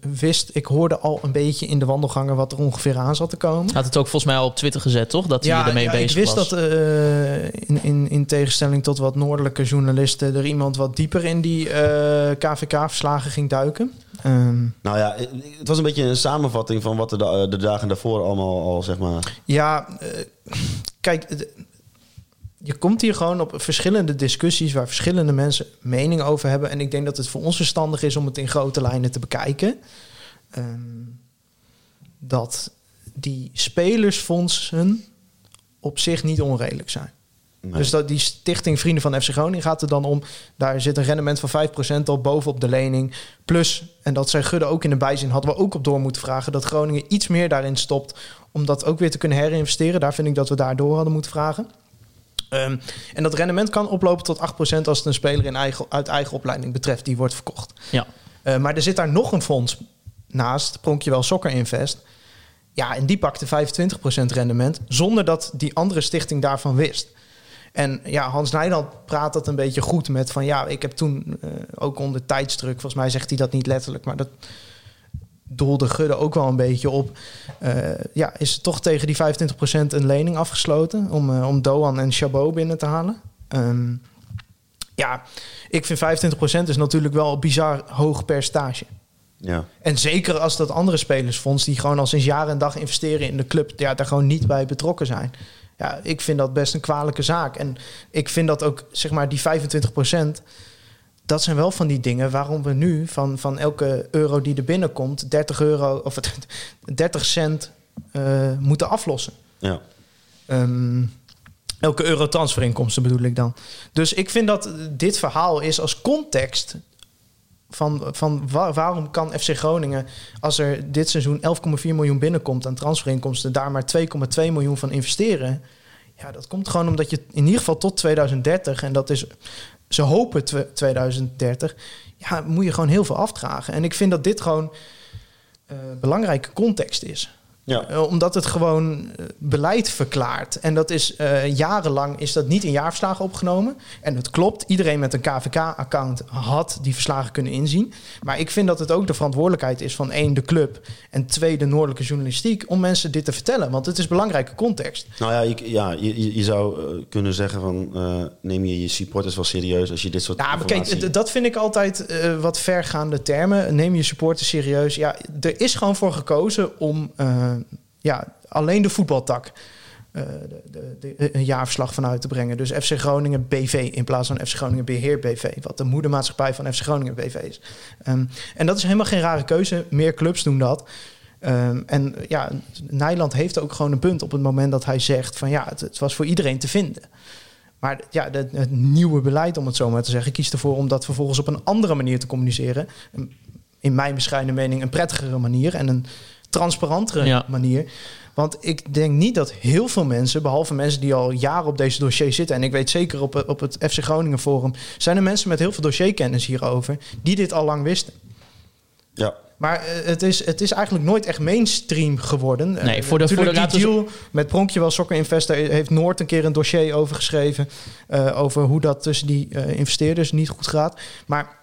Speaker 6: wist, ik hoorde al een beetje in de wandelgangen wat er ongeveer aan zat te komen.
Speaker 4: Had het ook volgens mij al op Twitter gezet, toch? Dat hij ermee
Speaker 6: ik
Speaker 4: bezig
Speaker 6: wist
Speaker 4: was.
Speaker 6: dat eh, in, in, in tegenstelling tot wat noordelijke journalisten... er iemand wat dieper in die eh, KVK-verslagen ging duiken. Ehm,
Speaker 5: Nou ja, eh, het was een beetje een samenvatting van wat er da- eh, de dagen daarvoor allemaal al, zeg maar...
Speaker 6: Ja, eh, kijk, het- je komt hier gewoon op verschillende discussies waar verschillende mensen mening over hebben. En ik denk dat het voor ons verstandig is om het in grote lijnen te bekijken. Ehm, dat die spelersfondsen op zich niet onredelijk zijn.
Speaker 5: Nee.
Speaker 6: Dus dat die stichting Vrienden van FC Groningen gaat er dan om. Daar zit een rendement van 5% al bovenop de lening. Plus, en dat zei Gudde ook in de bijzin, hadden we ook op door moeten vragen... dat Groningen iets meer daarin stopt om dat ook weer te kunnen herinvesteren. Daar vind ik dat we daardoor hadden moeten vragen. Ehm, en dat rendement kan oplopen tot 8% als het een speler in eigen, uit eigen opleiding betreft. Die wordt verkocht.
Speaker 4: Ja.
Speaker 6: Eh, maar er zit daar nog een fonds naast, pronkje wel Soccer Invest. Ja, en die pakte 25% rendement zonder dat die andere stichting daarvan wist. En ja, Hans Nijland praat dat een beetje goed met van ja, ik heb toen eh, ook onder tijdsdruk, volgens mij zegt hij dat niet letterlijk, maar dat doelde Gudde ook wel een beetje op. Eh, ja, is toch tegen die 25% een lening afgesloten om, eh, om Doan en Chabot binnen te halen. Ehm, ja, ik vind 25% is natuurlijk wel een bizar hoog percentage.
Speaker 5: Ja.
Speaker 6: En zeker als dat andere spelersfonds die gewoon al sinds jaar en dag investeren in de club, ja, daar gewoon niet bij betrokken zijn. Ja, ik vind dat best een kwalijke zaak. En ik vind dat ook, zeg maar, die 25%, dat zijn wel van die dingen waarom we nu van, van elke euro die er binnenkomt, 30 euro of 30 cent eh, moeten aflossen.
Speaker 5: ja.
Speaker 6: Ehm, elke euro transferinkomsten bedoel ik dan. Dus ik vind dat eh, dit verhaal is als context van, van wa- waarom kan FC Groningen, als er dit seizoen 11,4 miljoen binnenkomt aan transferinkomsten, daar maar 2,2 miljoen van investeren? Ja, dat komt gewoon omdat je in ieder geval tot 2030, en dat is, ze hopen tw- 2030, ja, moet je gewoon heel veel afdragen. En ik vind dat dit gewoon eh, belangrijke context is.
Speaker 5: Ja.
Speaker 6: Eh, omdat het gewoon eh, beleid verklaart. En dat is eh, jarenlang is dat niet in jaarverslagen opgenomen. En dat klopt, iedereen met een KVK-account had die verslagen kunnen inzien. Maar ik vind dat het ook de verantwoordelijkheid is van één, de club. En twee, de noordelijke journalistiek. Om mensen dit te vertellen. Want het is belangrijke context.
Speaker 5: Nou ja, ik, ja je, je- je zou eh, kunnen zeggen van... eh, neem je je supporters wel serieus als je dit soort
Speaker 6: Nou, maar kijk,
Speaker 5: informatie-
Speaker 6: d- dat vind ik altijd eh, wat vergaande termen. Neem je supporters serieus. Ja, er is gewoon voor gekozen om eh, ja, alleen de voetbaltak eh, de, de, de- een jaarverslag van uit te brengen. Dus FC Groningen BV in plaats van FC Groningen Beheer BV. Wat de moedermaatschappij van FC Groningen BV is. Ehm, en dat is helemaal geen rare keuze. Meer clubs doen dat. Ehm, en ja, Nijland heeft ook gewoon een punt op het moment dat hij zegt van ja, het, het was voor iedereen te vinden. Maar ja, de- het nieuwe beleid, om het zo maar te zeggen, kiest ervoor om dat vervolgens op een andere manier te communiceren. Een- In mijn bescheiden mening een prettigere manier en een transparantere
Speaker 4: Ja.
Speaker 6: manier. Want ik denk niet dat heel veel mensen, behalve mensen die al jaren op deze dossier zitten, en ik weet zeker op, op het FC Groningen Forum, zijn er mensen met heel veel dossierkennis hierover die dit al lang wisten.
Speaker 5: Ja.
Speaker 6: Maar eh, het is, het is eigenlijk nooit echt mainstream geworden. Eh,
Speaker 4: Nee, voor de-
Speaker 6: Natuurlijk
Speaker 4: voor de
Speaker 6: die deal met Pronkje wel Soccer Investor heeft Noord een keer een dossier over geschreven. eh, over hoe dat tussen die eh, investeerders niet goed gaat. Maar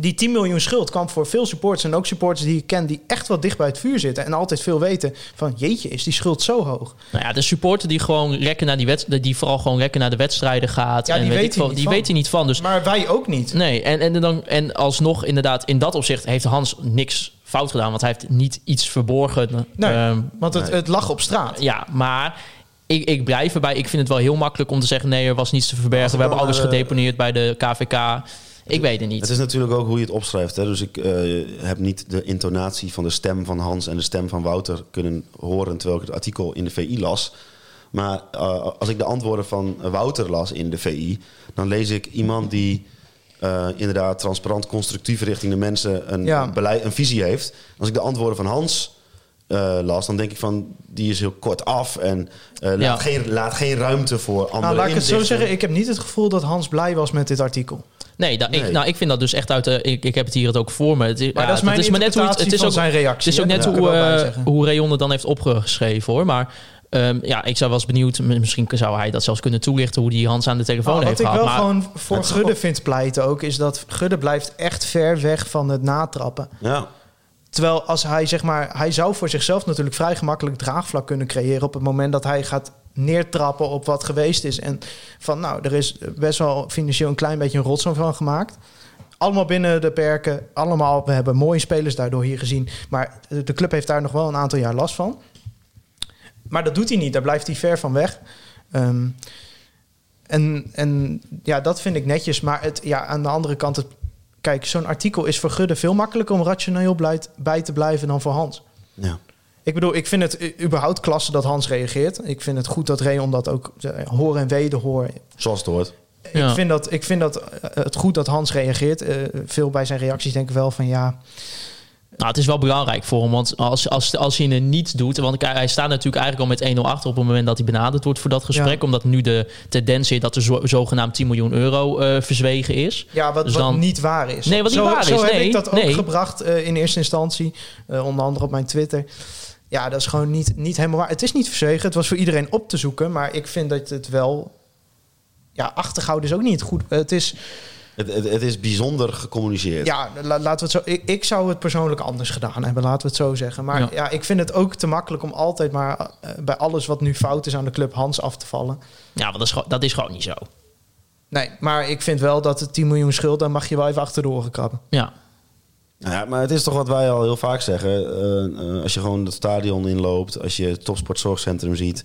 Speaker 6: die 10 miljoen schuld kwam voor veel supporters en ook supporters die ik ken die echt wel dicht bij het vuur zitten. En altijd veel weten van jeetje, is die schuld zo hoog?
Speaker 4: Nou ja, de supporter die gewoon rekken naar die wedstrijden, die vooral gewoon rekken naar de wedstrijden gaat.
Speaker 6: Ja,
Speaker 4: en
Speaker 6: die
Speaker 4: weet
Speaker 6: weet
Speaker 4: ik
Speaker 6: hij
Speaker 4: veel,
Speaker 6: niet
Speaker 4: die
Speaker 6: van.
Speaker 4: weet hij niet van. Dus
Speaker 6: Maar wij ook niet.
Speaker 4: nee, en, en, dan, en alsnog inderdaad, in dat opzicht heeft Hans niks fout gedaan, want hij heeft niet iets verborgen.
Speaker 6: Nee,
Speaker 4: Ehm,
Speaker 6: want het, het lag op straat.
Speaker 4: ja, maar ik, ik blijf erbij. Ik vind het wel heel makkelijk om te zeggen: nee, er was niets te verbergen. We hebben
Speaker 5: dan,
Speaker 4: alles
Speaker 5: eh,
Speaker 4: gedeponeerd bij de KVK. Ik weet het
Speaker 5: Het
Speaker 4: niet.
Speaker 5: is natuurlijk ook hoe je het opschrijft. Hè? Dus ik eh, heb niet de intonatie van de stem van Hans en de stem van Wouter kunnen horen terwijl ik het artikel in de VI las. Maar eh, als ik de antwoorden van Wouter las in de VI, dan lees ik iemand die eh, inderdaad transparant, constructief richting de mensen een,
Speaker 6: Ja.
Speaker 5: beleid, een visie heeft. Als ik de antwoorden van Hans eh, las, dan denk ik van die is heel kort af en eh, laat,
Speaker 4: Ja.
Speaker 5: geen, laat geen ruimte voor andere
Speaker 6: Nou, laat ik het zo
Speaker 5: inzichten.
Speaker 6: zeggen. Ik heb niet het gevoel dat Hans blij was met dit artikel.
Speaker 4: Nee, dat,
Speaker 5: Nee.
Speaker 4: Ik, nou, ik vind dat dus echt uit de. Ik, ik heb het hier het ook voor me. Het, is-
Speaker 6: Maar
Speaker 4: ja,
Speaker 6: dat is mijn
Speaker 4: maar net hoe het- het is
Speaker 6: van
Speaker 4: ook,
Speaker 6: zijn
Speaker 4: Het
Speaker 6: reactie.
Speaker 4: is ook
Speaker 6: hè,
Speaker 4: net
Speaker 6: dat moet
Speaker 4: hoe,
Speaker 6: ik er wel bij
Speaker 4: eh,
Speaker 6: zeggen.
Speaker 4: hoe Rayon het dan heeft opgeschreven hoor. Maar ehm, ja, ik zou wel eens benieuwd, m- misschien zou hij dat zelfs kunnen toelichten hoe die Hans aan de telefoon
Speaker 6: Nou,
Speaker 4: heeft
Speaker 6: wat ik
Speaker 4: gehad.
Speaker 6: wel
Speaker 4: Maar
Speaker 6: gewoon voor Gudde vind pleiten ook, is dat Gudde blijft echt ver weg van het natrappen.
Speaker 5: Ja.
Speaker 6: Terwijl als hij zeg maar, hij zou voor zichzelf natuurlijk vrij gemakkelijk draagvlak kunnen creëren op het moment dat hij gaat neertrappen op wat geweest is. En van nou, er is best wel financieel een klein beetje een rotzooi van gemaakt. Allemaal binnen de perken, allemaal. We hebben mooie spelers daardoor hier gezien. Maar de club heeft daar nog wel een aantal jaar last van. Maar dat doet hij niet, daar blijft hij ver van weg. Ehm, en, en ja, dat vind ik netjes. Maar het, ja, aan de andere kant, het, kijk, zo'n artikel is voor Gudde veel makkelijker om rationeel blijt- bij te blijven dan voor Hans.
Speaker 5: ja.
Speaker 6: Ik bedoel, ik vind het eh, überhaupt klasse dat Hans reageert. Ik vind het goed dat Reon dat ook eh, hoor en wederhoor
Speaker 5: Zoals het hoort.
Speaker 4: Ja.
Speaker 6: ik vind dat, ik vind dat eh, het goed dat Hans reageert. Eh, veel bij zijn reacties denk ik wel van ja.
Speaker 4: nou, het is wel belangrijk voor hem. Want als, als, als hij het niet doet. Want hij hij staat natuurlijk eigenlijk al met 1-0 achter op het moment dat hij benaderd wordt voor dat gesprek.
Speaker 6: Ja.
Speaker 4: Omdat nu de tendens is dat er zo, zogenaamd 10 miljoen euro eh, verzwegen is.
Speaker 6: Ja, wat,
Speaker 4: Dus
Speaker 6: wat
Speaker 4: dan-
Speaker 6: niet waar is.
Speaker 4: Nee, wat niet
Speaker 6: zo,
Speaker 4: waar
Speaker 6: zo
Speaker 4: is,
Speaker 6: heb
Speaker 4: nee,
Speaker 6: ik dat ook
Speaker 4: nee.
Speaker 6: gebracht eh, in eerste instantie. eh, onder andere op mijn Twitter. Ja, dat is gewoon niet, niet helemaal waar. Het is niet verzegeld. Het was voor iedereen op te zoeken. Maar ik vind dat het wel... Ja, achtergehouden is ook niet goed. Het is...
Speaker 5: Het, het, het is bijzonder gecommuniceerd.
Speaker 6: Ja, la- laten we het zo... Ik, ik zou het persoonlijk anders gedaan hebben. Laten we het zo zeggen. Maar
Speaker 4: Ja.
Speaker 6: ja, ik vind het ook te makkelijk om altijd maar... eh, bij alles wat nu fout is aan de club Hans af te vallen.
Speaker 4: Ja, want dat is, gewoon- dat is gewoon niet zo.
Speaker 6: Nee, maar ik vind wel dat het 10 miljoen schuld, daar mag je wel even achter de oren krabben.
Speaker 4: Ja.
Speaker 5: Nou Ja, maar het is toch wat wij al heel vaak zeggen. Eh, eh, als je gewoon het stadion inloopt, als je het topsportzorgcentrum ziet.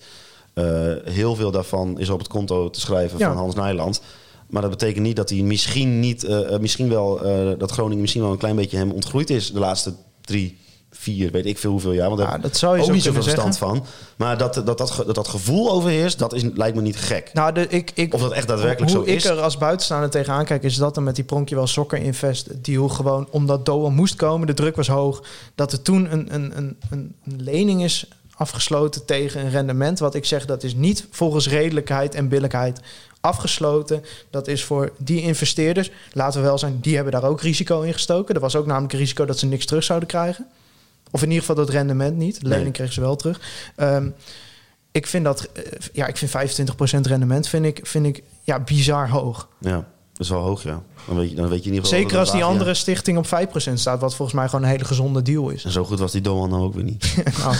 Speaker 5: eh, heel veel daarvan is op het konto te schrijven
Speaker 6: Ja.
Speaker 5: van Hans Nijland. Maar dat betekent niet dat hij misschien niet, eh, eh, misschien wel, eh, dat Groningen misschien wel een klein beetje hem ontgroeid is de laatste drie, vier, weet ik veel hoeveel jaar. Want daar
Speaker 6: Ja,
Speaker 5: heb ik
Speaker 6: Ah, dat zou je
Speaker 5: ook
Speaker 6: zo
Speaker 5: niet zoveel
Speaker 6: kunnen
Speaker 5: verstand van. Maar dat dat, dat, ge- dat dat gevoel overheerst, dat is, lijkt me niet gek.
Speaker 6: Nou, de, ik, ik,
Speaker 5: Of dat echt daadwerkelijk
Speaker 6: hoe
Speaker 5: zo is.
Speaker 6: ik er als buitenstaander tegenaan kijk, is dat er met die pronkje wel Soccer Invest deal gewoon omdat Doan moest komen, de druk was hoog, dat er toen een, een, een, een een lening is afgesloten tegen een rendement. Wat ik zeg, dat is niet volgens redelijkheid en billijkheid afgesloten. Dat is voor die investeerders, laten we wel zijn, die hebben daar ook risico in gestoken. Er was ook namelijk risico dat ze niks terug zouden krijgen. Of in ieder geval dat rendement niet. De lening
Speaker 5: Nee.
Speaker 6: kregen ze wel terug. Ehm, ik vind dat, eh, ja, ik vind 25% rendement vind ik, vind ik ja, bizar hoog.
Speaker 5: Ja, dat is wel hoog, ja. Dan weet je, dan weet je in ieder geval...
Speaker 6: Zeker
Speaker 5: dat het
Speaker 6: als die
Speaker 5: laag, ja.
Speaker 6: andere stichting op 5% staat, wat volgens mij gewoon een hele gezonde deal is.
Speaker 5: En zo goed was die Doan dan ook weer niet.
Speaker 6: Nou,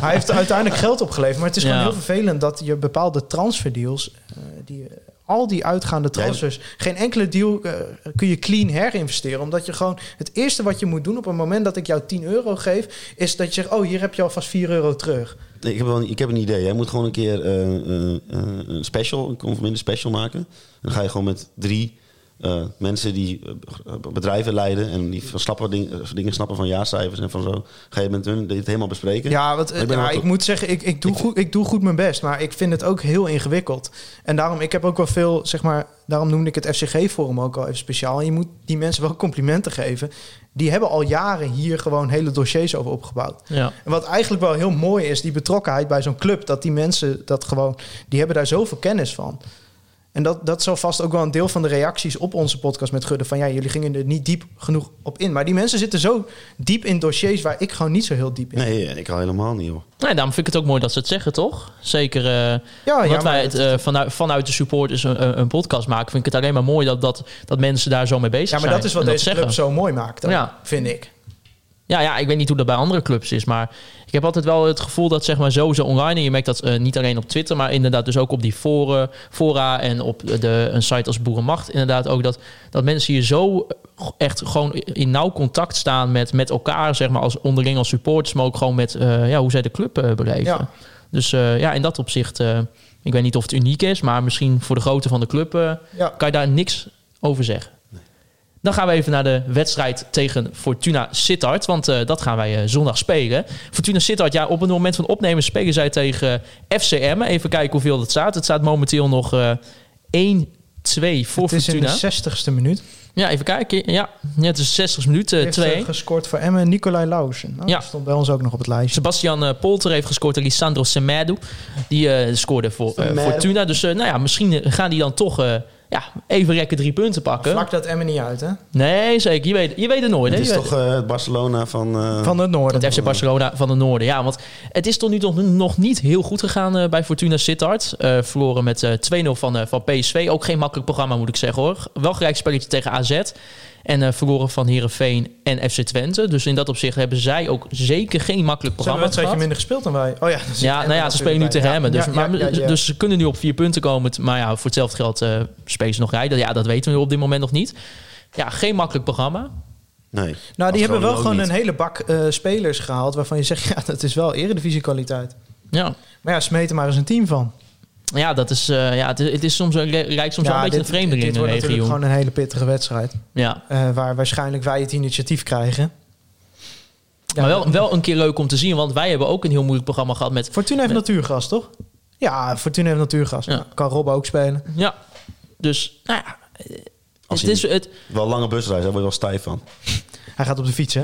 Speaker 6: hij heeft uiteindelijk geld opgeleverd, maar het is gewoon
Speaker 4: Ja.
Speaker 6: heel vervelend dat je bepaalde transferdeals, eh, die, al die uitgaande transfers, geen enkele deal eh, kun je clean herinvesteren. Omdat je gewoon, het eerste wat je moet doen op het moment dat ik jou 10 euro geef, is dat je zegt, oh hier heb je alvast 4 euro terug.
Speaker 5: Nee, ik, heb wel, een- ik heb een idee. Jij moet gewoon een keer eh, eh, eh, een special, een conforminder special maken. En dan ga je gewoon met drie eh, mensen die eh, bedrijven leiden... en die van slappe ding- eh, dingen snappen van jaarcijfers en van zo... ga je met hun dit helemaal bespreken.
Speaker 6: Ja, want, eh,
Speaker 5: Ik ben
Speaker 6: ja,
Speaker 5: wel-
Speaker 6: ik moet zeggen, ik, ik, doe goed, ik doe goed mijn best. Maar ik vind het ook heel ingewikkeld. En daarom, ik heb ook wel veel, zeg maar... Daarom noemde ik het FCG-forum ook al even speciaal. En je moet die mensen wel complimenten geven. Die hebben al jaren hier gewoon hele dossiers over opgebouwd.
Speaker 4: Ja.
Speaker 6: En wat eigenlijk wel heel mooi is, die betrokkenheid bij zo'n club. Dat die mensen dat gewoon... Die hebben daar zoveel kennis van. En dat, dat zal vast ook wel een deel van de reacties op onze podcast met Gudde. Van ja, jullie gingen er niet diep genoeg op in. Maar die mensen zitten zo diep in dossiers waar ik gewoon niet zo heel diep in
Speaker 5: Nee, en ik al helemaal niet, hoor.
Speaker 4: Nee, daarom vind ik het ook mooi dat ze het zeggen, toch? Zeker eh omdat
Speaker 6: maar
Speaker 4: wij
Speaker 6: dat-
Speaker 4: het, eh, vanuit, vanuit de supporters een, een- een podcast maken. Vind ik het alleen maar mooi dat, dat, dat mensen daar zo mee bezig
Speaker 6: Ja,
Speaker 4: zijn.
Speaker 6: maar dat is wat
Speaker 4: en
Speaker 6: deze club
Speaker 4: zeggen.
Speaker 6: zo mooi maakt, ook,
Speaker 4: Ja.
Speaker 6: vind ik.
Speaker 4: Ja, ja, ik weet niet hoe dat bij andere clubs is. Maar ik heb altijd wel het gevoel dat zeg maar sowieso online... en je merkt dat eh, niet alleen op Twitter... maar inderdaad dus ook op die fora, fora en op de, een site als Boerenmacht... inderdaad ook dat, dat mensen hier zo echt gewoon in nauw contact staan... met, met elkaar, zeg maar, als onderling als supporters... maar ook gewoon met eh, ja, hoe zij de club eh, beleven.
Speaker 6: Ja.
Speaker 4: Dus eh, ja, in dat opzicht... eh, ik weet niet of het uniek is... maar misschien voor de grootte van de club... eh,
Speaker 6: Ja.
Speaker 4: kan je daar niks over zeggen. Dan gaan we even naar de wedstrijd tegen Fortuna Sittard. Want eh, dat gaan wij eh, zondag spelen. Fortuna Sittard, ja, op het moment van opnemen spelen zij tegen eh, FCM. Even kijken hoeveel dat staat. Het staat momenteel nog eh 1-2 voor
Speaker 6: het is
Speaker 4: Fortuna. Eh,
Speaker 6: in de 60ste minuut.
Speaker 4: Ja, even kijken. Ja, ja het is 60 minuten.
Speaker 6: Heeft eh,
Speaker 4: 2.
Speaker 6: gescoord voor Emmen Nicolai Lauwersen. Nou,
Speaker 4: Ja.
Speaker 6: Dat stond bij ons ook nog op het lijstje.
Speaker 4: Sebastian eh, Polter heeft gescoord en Lisandro Semedo. Die eh, scoorde voor eh,
Speaker 5: Semedo.
Speaker 4: Fortuna. Dus eh, nou ja, misschien eh, gaan die dan toch eh, ja, even rekken drie punten pakken.
Speaker 6: Vlak dat Emmen niet uit, hè?
Speaker 4: Nee, zeker. Je weet, je weet het nooit. hè?
Speaker 5: Het is
Speaker 4: Je weet-
Speaker 5: toch eh, het Barcelona van... eh,
Speaker 6: Van het noorden.
Speaker 4: Het FC Barcelona van de Noorden. Ja, want het is tot nu toe nog niet heel goed gegaan eh, bij Fortuna Sittard. Eh, verloren met eh, 2-0 van, eh, van PSV. Ook geen makkelijk programma, moet ik zeggen hoor. Wel gelijk spelletje tegen AZ. En eh, verloren van Herenveen en FC Twente. Dus in dat opzicht hebben zij ook zeker geen makkelijk
Speaker 6: Ze hebben
Speaker 4: programma.
Speaker 6: een wedstrijdje
Speaker 4: gehad.
Speaker 6: minder gespeeld dan wij. Oh ja, daar zit
Speaker 4: Ja,
Speaker 6: Emmen
Speaker 4: nou ja,
Speaker 6: natuurlijk
Speaker 4: ze spelen nu
Speaker 6: bij.
Speaker 4: tegen
Speaker 6: Ja,
Speaker 4: Emmen. Dus,
Speaker 6: ja,
Speaker 4: maar,
Speaker 6: ja, ja.
Speaker 4: dus ze kunnen nu op vier punten komen. Maar ja, voor hetzelfde geld eh, spelen ze nog rijden. Ja, dat weten we op dit moment nog niet. Ja, geen makkelijk programma.
Speaker 5: Nee.
Speaker 6: Nou, die hebben wel
Speaker 5: ook
Speaker 6: gewoon
Speaker 5: niet.
Speaker 6: een hele bak eh, spelers gehaald... waarvan je zegt, ja, dat is wel eredivisie kwaliteit.
Speaker 4: Ja.
Speaker 6: Maar ja, smeet er maar eens een team van.
Speaker 4: Ja, dat is, eh, ja, het, is- het is soms, een- lijkt soms
Speaker 6: ja,
Speaker 4: wel een beetje
Speaker 6: dit-
Speaker 4: een vreemdeling
Speaker 6: Dit wordt
Speaker 4: regio.
Speaker 6: natuurlijk gewoon een hele pittige wedstrijd.
Speaker 4: Ja.
Speaker 6: eh, waar waarschijnlijk wij het initiatief krijgen.
Speaker 4: maar wel, wel een keer leuk om te zien, want wij hebben ook een heel moeilijk programma gehad met...
Speaker 6: Fortuna heeft
Speaker 4: Met-
Speaker 6: natuurgas, toch? Ja, Fortuna heeft natuurgas.
Speaker 4: Ja.
Speaker 6: Nou, Kan Rob ook spelen.
Speaker 4: Ja, dus, nou ja,
Speaker 5: Als
Speaker 4: het
Speaker 5: je-
Speaker 4: is, het,
Speaker 5: Wel lange busreis, daar word je wel stijf van.
Speaker 6: Hij gaat op de fiets, hè?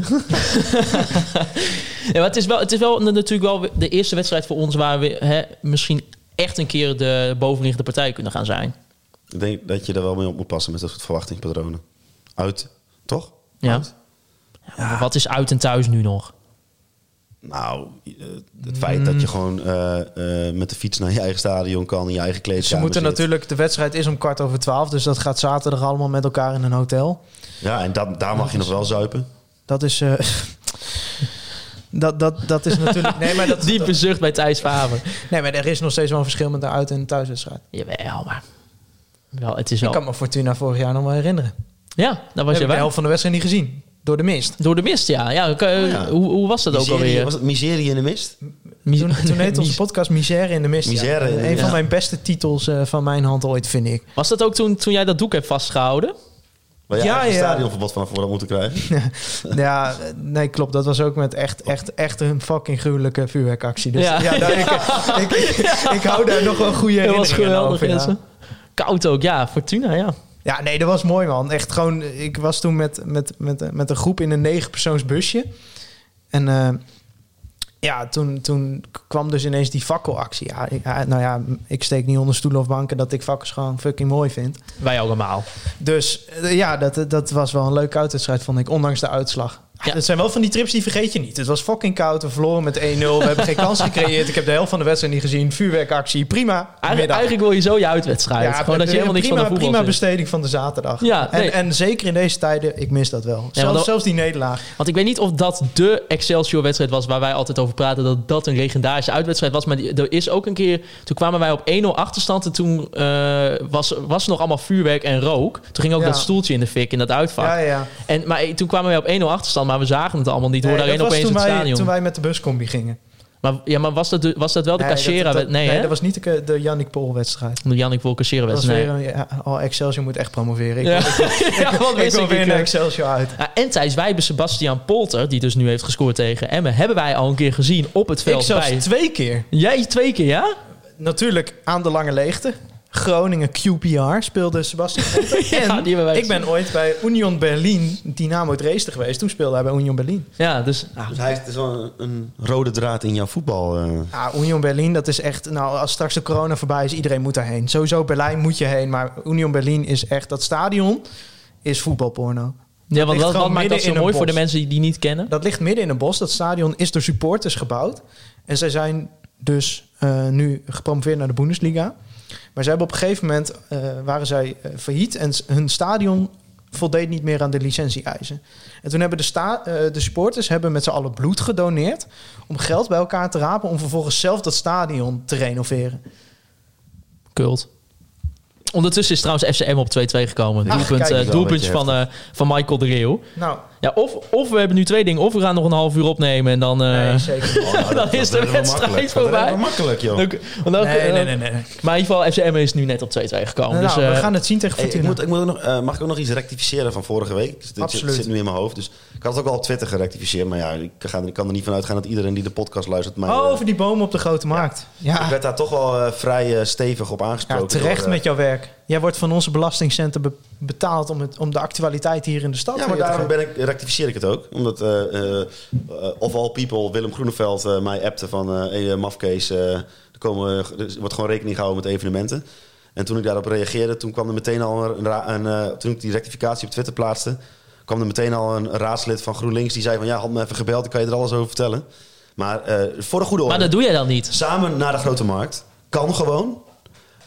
Speaker 4: ja, maar het is wel, het is wel na- natuurlijk wel de eerste wedstrijd voor ons waar we hè, misschien echt een keer de bovenliggende partij kunnen gaan zijn.
Speaker 5: Ik denk dat je daar wel mee op moet passen met dat soort verwachtingspatronen. Uit, toch?
Speaker 4: Ja.
Speaker 5: Uit?
Speaker 4: Maar Wat is uit en thuis nu nog?
Speaker 5: Nou, eh, het feit dat
Speaker 4: Mm.
Speaker 5: je gewoon eh, eh, met de fiets naar je eigen stadion kan, in je eigen kleedkamer
Speaker 6: Ze moeten
Speaker 5: zit.
Speaker 6: natuurlijk, de wedstrijd is om kwart over twaalf, dus dat gaat zaterdag allemaal met elkaar in een hotel.
Speaker 5: Ja, en dat, daar mag je nog wel zuipen.
Speaker 6: Dat is. eh, dat, dat, dat is natuurlijk. Nee maar, dat,
Speaker 4: Diepe zucht bij Thijs Faber.
Speaker 6: nee, maar er is nog steeds wel een verschil met de uit- en thuiswedstrijd.
Speaker 4: Jawel, maar... Wel, het is wel...
Speaker 6: Ik kan me Fortuna vorig jaar nog wel herinneren.
Speaker 4: Ja, dat was
Speaker 6: Was heb
Speaker 4: je
Speaker 6: ik de
Speaker 4: wel.
Speaker 6: helft Oh van de wedstrijd niet gezien. Door de mist.
Speaker 4: Door de mist, ja. ja, ik, eh,
Speaker 5: ja.
Speaker 4: Hoe, hoe was dat ook
Speaker 5: Miserie-
Speaker 4: alweer?
Speaker 5: Was het miserie in de mist?
Speaker 4: Mis-
Speaker 6: Toen, toen heette onze
Speaker 4: mis-
Speaker 6: podcast Misère in de Mist. ja.
Speaker 5: Misère in de
Speaker 6: een
Speaker 5: Mist.
Speaker 6: van
Speaker 4: Ja.
Speaker 6: mijn beste titels eh, van mijn hand ooit, vind ik.
Speaker 4: Was dat ook toen, toen jij dat doek hebt vastgehouden?
Speaker 5: Waar je
Speaker 6: Ja,
Speaker 5: eigen
Speaker 6: ja.
Speaker 5: stadionverbod vanaf voor had moeten krijgen.
Speaker 6: Ja, eh, nee, klopt. Dat was ook met echt, echt, echt een fucking gruwelijke vuurwerkactie. Dus
Speaker 4: Ja.
Speaker 6: ja, daar- ik, ik, ik, ik hou daar nog wel goede
Speaker 4: Dat
Speaker 6: herinneringen
Speaker 4: was geweldig,
Speaker 6: over, ja.
Speaker 4: Jesse. Koud ook, ja. Fortuna, ja.
Speaker 6: Ja, nee, dat was mooi, man. Echt gewoon, ik was toen met, met, met, met een groep in een negenpersoons busje. En eh, ja, toen, toen kwam dus ineens die fakkelactie. Ja, ik, ja, nou ja, ik steek niet onder stoelen of banken dat ik fakkels gewoon fucking mooi vind.
Speaker 4: Wij allemaal.
Speaker 6: Dus eh, ja, dat, dat was wel een leuke uitwedstrijd, vond ik, ondanks de uitslag.
Speaker 4: Ja.
Speaker 6: Ja. Het zijn wel van die trips die vergeet je niet. Het was fucking koud, we verloren met 1-0. We hebben geen kans gecreëerd. Ik heb de helft van de wedstrijd niet gezien. Vuurwerkactie, prima.
Speaker 4: Eigen-
Speaker 6: Middag.
Speaker 4: eigenlijk wil je zo je uitwedstrijd. Gewoon dat je helemaal niks
Speaker 6: prima,
Speaker 4: van de voetbal
Speaker 6: Prima
Speaker 4: vindt.
Speaker 6: besteding van de zaterdag.
Speaker 4: Ja, nee.
Speaker 6: en, en zeker in deze tijden, ik mis dat wel. zelfs,
Speaker 4: dan-
Speaker 6: zelfs die nederlaag.
Speaker 4: Want ik weet niet of dat de Excelsior-wedstrijd was waar wij altijd over praten. Dat dat een legendarische uitwedstrijd was. Maar die- er is ook een keer. Toen kwamen wij op 1-0 achterstand. En toen eh, was, was er nog allemaal vuurwerk en rook. Toen ging ook
Speaker 6: Ja.
Speaker 4: dat stoeltje in de fik in dat uitvak.
Speaker 6: Ja, ja.
Speaker 4: En, maar eh, toen kwamen wij op 1-0 achterstand. Maar we zagen het allemaal niet. We
Speaker 6: Nee,
Speaker 4: hoorden
Speaker 6: dat
Speaker 4: alleen
Speaker 6: was
Speaker 4: opeens
Speaker 6: toen
Speaker 4: het
Speaker 6: wij,
Speaker 4: stadion.
Speaker 6: Toen wij met de buscombi gingen.
Speaker 4: Maar, ja, maar was dat, de- was dat wel de Cassera?
Speaker 6: dat- dat-
Speaker 4: Nee, nee,
Speaker 6: nee,
Speaker 4: hè?
Speaker 6: dat was niet de, de Jannik Pol-wedstrijd.
Speaker 4: De Jannik wil Cassera
Speaker 6: Dat was
Speaker 4: wedstrijd.
Speaker 6: weer een, ja, oh, Excelsior moet echt promoveren. Ik,
Speaker 4: Ja, Ja,
Speaker 6: ik
Speaker 4: want wist
Speaker 6: wil
Speaker 4: ik
Speaker 6: weer
Speaker 4: ik,
Speaker 6: naar
Speaker 4: eh.
Speaker 6: Excelsior uit.
Speaker 4: Ja, en Thijs Wijben, Sebastian Polter, die dus nu heeft gescoord tegen Emmen, hebben wij al een keer gezien op het
Speaker 6: Ik
Speaker 4: veld.
Speaker 6: zelfs
Speaker 4: bij...
Speaker 6: twee keer.
Speaker 4: Jij twee keer, ja?
Speaker 6: Natuurlijk aan de lange leegte. Groningen QPR speelde Sebastian Venter.
Speaker 4: Ja, die hebben wij
Speaker 6: en ik ben ooit bij Union Berlin Dynamo Dresden geweest. Toen speelde hij bij Union Berlin.
Speaker 4: Ja, dus
Speaker 6: Nou,
Speaker 4: ah,
Speaker 5: Dus hij is wel een, een rode draad in jouw voetbal. eh.
Speaker 6: Ja, Union Berlin, dat is echt... Nou, als straks de corona voorbij is, iedereen moet daarheen. Sowieso Berlijn moet je heen. Maar Union Berlin is echt... Dat stadion is voetbalporno.
Speaker 4: ja, want wat,
Speaker 6: ligt
Speaker 4: wat
Speaker 6: gewoon
Speaker 4: maakt
Speaker 6: midden
Speaker 4: dat zo
Speaker 6: in een
Speaker 4: mooi voor de
Speaker 6: bos.
Speaker 4: mensen die die niet kennen?
Speaker 6: Dat ligt midden in een bos. Dat stadion is door supporters gebouwd. En zij zijn dus eh, nu gepromoveerd naar de Bundesliga. Maar ze hebben op een gegeven moment eh, waren zij eh, failliet en s- hun stadion voldeed niet meer aan de licentie-eisen. En toen hebben de, sta- eh, de supporters hebben met z'n allen bloed gedoneerd om geld bij elkaar te rapen om vervolgens zelf dat stadion te renoveren.
Speaker 4: Kult. Ondertussen is trouwens FCM op 2-2 gekomen.
Speaker 6: Ach,
Speaker 4: Doelpunt, eh,
Speaker 6: kijk. Dat is
Speaker 5: wel
Speaker 4: doelpuntje
Speaker 5: een beetje
Speaker 4: van, eh, van Michael de Reeuw.
Speaker 6: Nou,
Speaker 4: Ja, of, of we hebben nu twee dingen. Of we gaan nog een half uur opnemen en dan... eh,
Speaker 6: nee, zeker. niet.
Speaker 5: Oh, nou, dat-
Speaker 4: Dan
Speaker 5: dat
Speaker 4: is de
Speaker 5: redden we
Speaker 4: wedstrijd
Speaker 5: makkelijk. Dat
Speaker 4: voorbij.
Speaker 5: redden we makkelijk, joh.
Speaker 4: dan- want dan-
Speaker 6: Nee, nee, nee, nee.
Speaker 4: Maar in ieder geval, FCM is nu net op 2-2 gekomen.
Speaker 6: nou,
Speaker 4: Nou, dus, eh,
Speaker 6: we gaan het zien tegen
Speaker 5: Hey, ik
Speaker 6: Fortuna.
Speaker 5: moet, ik moet ook nog, eh, mag ik ook nog iets rectificeren van vorige week? Dus dit
Speaker 6: Absoluut.
Speaker 5: zit- zit nu in mijn hoofd. Dus ik had het ook al op Twitter gerectificeerd. Maar ja, ik, ga, ik kan er niet van uitgaan dat iedereen die de podcast luistert... Mij,
Speaker 6: Oh,
Speaker 5: eh,
Speaker 6: over die bomen op de Grote Markt. Ja.
Speaker 5: Ik werd daar toch wel eh, vrij eh, stevig op aangesproken.
Speaker 6: Ja, terecht
Speaker 5: door, eh,
Speaker 6: met jouw werk. Jij wordt van onze belastingcenten be- betaald om, het, om de actualiteit hier in de stad
Speaker 5: Ja,
Speaker 6: weer
Speaker 5: maar
Speaker 6: te
Speaker 5: daarom
Speaker 6: geven.
Speaker 5: ben ik, rectificeer ik het ook. Omdat eh, eh, eh, of all people Willem Groeneveld eh, mij appte van... eh hey, eh, mafkees, eh, er, komen, er wordt gewoon rekening gehouden met evenementen. En toen ik daarop reageerde, toen kwam er meteen al een... ra- een, eh, toen ik die rectificatie op Twitter plaatste... kwam er meteen al een raadslid van GroenLinks die zei van... ja, had me even gebeld, dan kan je er alles over vertellen. Maar eh, voor de goede orde...
Speaker 4: maar dat doe jij dan niet.
Speaker 5: Samen naar de grote markt. Kan gewoon.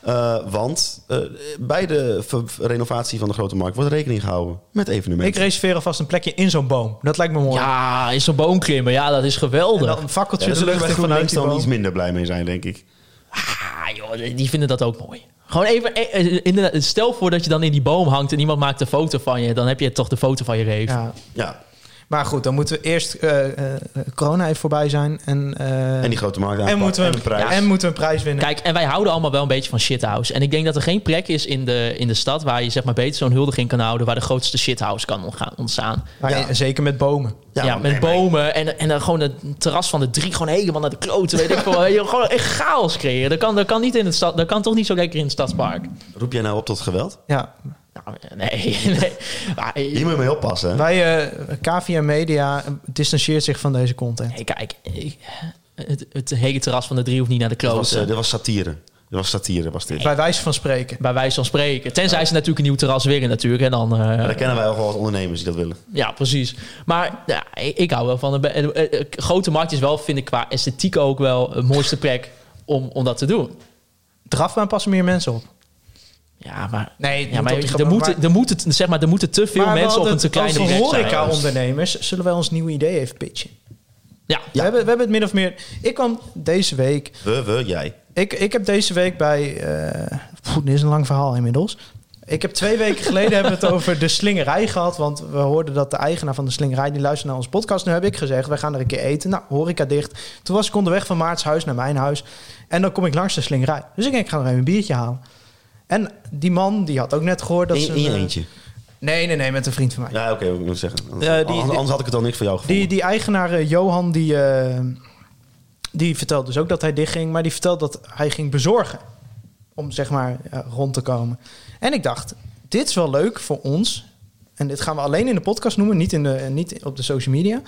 Speaker 5: Eh, want eh, bij de ver- renovatie van de grote markt wordt rekening gehouden met
Speaker 6: Ik
Speaker 5: evenementen.
Speaker 6: reserveer alvast een plekje in zo'n boom. Dat lijkt me mooi.
Speaker 4: Ja, is zo'n boom klimmen. Ja, dat is
Speaker 6: en
Speaker 4: geweldig.
Speaker 6: dan een fakkeltje
Speaker 5: Ja, daar
Speaker 6: de
Speaker 5: zullen wij
Speaker 6: lucht in
Speaker 5: GroenLinks
Speaker 6: vanuit die
Speaker 5: dan
Speaker 6: boom.
Speaker 5: iets minder blij mee zijn, denk ik.
Speaker 4: Ah, joh, die vinden dat ook mooi. Gewoon even, eh, eh, inderdaad, stel voor dat je dan in die boom hangt en iemand maakt een foto van je. Dan heb je toch de foto van je reef.
Speaker 6: Ja.
Speaker 5: Ja,
Speaker 6: Maar goed, dan moeten we eerst eh, eh, corona even voorbij zijn. En, eh,
Speaker 5: en die grote markt
Speaker 6: en
Speaker 5: aanpakken.
Speaker 6: moeten we
Speaker 5: en
Speaker 6: een
Speaker 5: de prijs.
Speaker 6: ja, en moeten we een prijs winnen.
Speaker 4: Kijk, en wij houden allemaal wel een beetje van shithouse. En ik denk dat er geen plek is in de, in de stad waar je zeg maar beter zo'n huldiging kan houden. Waar de grootste shithouse kan ontgaan- ontstaan.
Speaker 6: Maar
Speaker 5: ja.
Speaker 6: eh, Zeker met bomen.
Speaker 4: Ja,
Speaker 5: Ja,
Speaker 4: met
Speaker 5: nee, maar-
Speaker 4: bomen en, en dan gewoon het terras van de drie gewoon helemaal naar de kloten. Weet ik veel. Je- gewoon echt chaos creëren. Dat kan, dat kan niet in het stad, dat kan toch niet zo lekker in het stadspark.
Speaker 5: Roep jij nou op tot geweld?
Speaker 6: Ja.
Speaker 4: Nou, nee, nee. Maar, eh,
Speaker 5: Hier moet je mee oppassen. hè?
Speaker 6: Wij, eh KVM Media, eh, distancieert zich van deze content.
Speaker 4: Hey, kijk, ik- het, het hele terras van de drie hoeft niet naar de
Speaker 5: Dit was, eh,
Speaker 4: kloten.
Speaker 5: dit was satire. Dit was satire, was dit.
Speaker 6: Bij wijze van spreken.
Speaker 4: Bij wijze van spreken. Tenzij ze natuurlijk een nieuw terras willen natuurlijk. En dan, eh,
Speaker 5: Maar dat kennen wij ook wel als ondernemers die dat willen.
Speaker 4: ja, precies. Maar ja, ik ik hou wel van... een be- eh, eh, eh, grote markt is wel, vind ik, qua esthetiek ook wel... de mooiste plek om, om dat te doen.
Speaker 6: Drafbaan passen meer mensen op.
Speaker 4: Ja, maar...
Speaker 6: Nee, het
Speaker 4: Ja,
Speaker 6: moet
Speaker 4: maar
Speaker 6: op die
Speaker 4: er
Speaker 6: grote
Speaker 4: moeten,
Speaker 6: markt.
Speaker 4: er moeten, zeg maar, er moeten te veel
Speaker 6: Maar we
Speaker 4: mensen op
Speaker 6: hadden
Speaker 4: een te
Speaker 6: het
Speaker 4: kleine plek
Speaker 6: over
Speaker 4: zijn. dus-
Speaker 6: horeca-ondernemers zullen wij ons nieuwe idee even pitchen.
Speaker 4: Ja,
Speaker 6: We, hebben, we hebben het min of meer... Ik kwam deze week...
Speaker 5: We, we, jij.
Speaker 6: Ik, ik heb deze week bij... eh poeh, dit is een lang verhaal inmiddels. Ik heb twee weken geleden hebben we het over de slingerij gehad. Want we hoorden dat de eigenaar van de slingerij... die luisterde naar onze podcast. Nu heb ik gezegd, wij gaan er een keer eten. Nou, horeca dicht. Toen was ik onderweg van Maart's huis naar mijn huis. En dan kom ik langs de slingerij. Dus ik denk, ik ga nog even een biertje halen. En die man, die had ook net gehoord dat
Speaker 5: In,
Speaker 6: ze...
Speaker 5: in je
Speaker 6: eh,
Speaker 5: eentje.
Speaker 6: Nee, nee, nee, met een vriend van mij.
Speaker 5: Ja, oké, wat moet ik zeggen. Anders,
Speaker 6: Ja, die-
Speaker 5: anders had ik het al niks voor jou gevonden.
Speaker 6: Die, die eigenaar eh, Johan, die, eh, die vertelt dus ook dat hij dichtging. Maar die vertelt dat hij ging bezorgen. Om zeg maar eh, rond te komen. En ik dacht, dit is wel leuk voor ons. En dit gaan we alleen in de podcast noemen, niet, in de, eh, niet op de social media.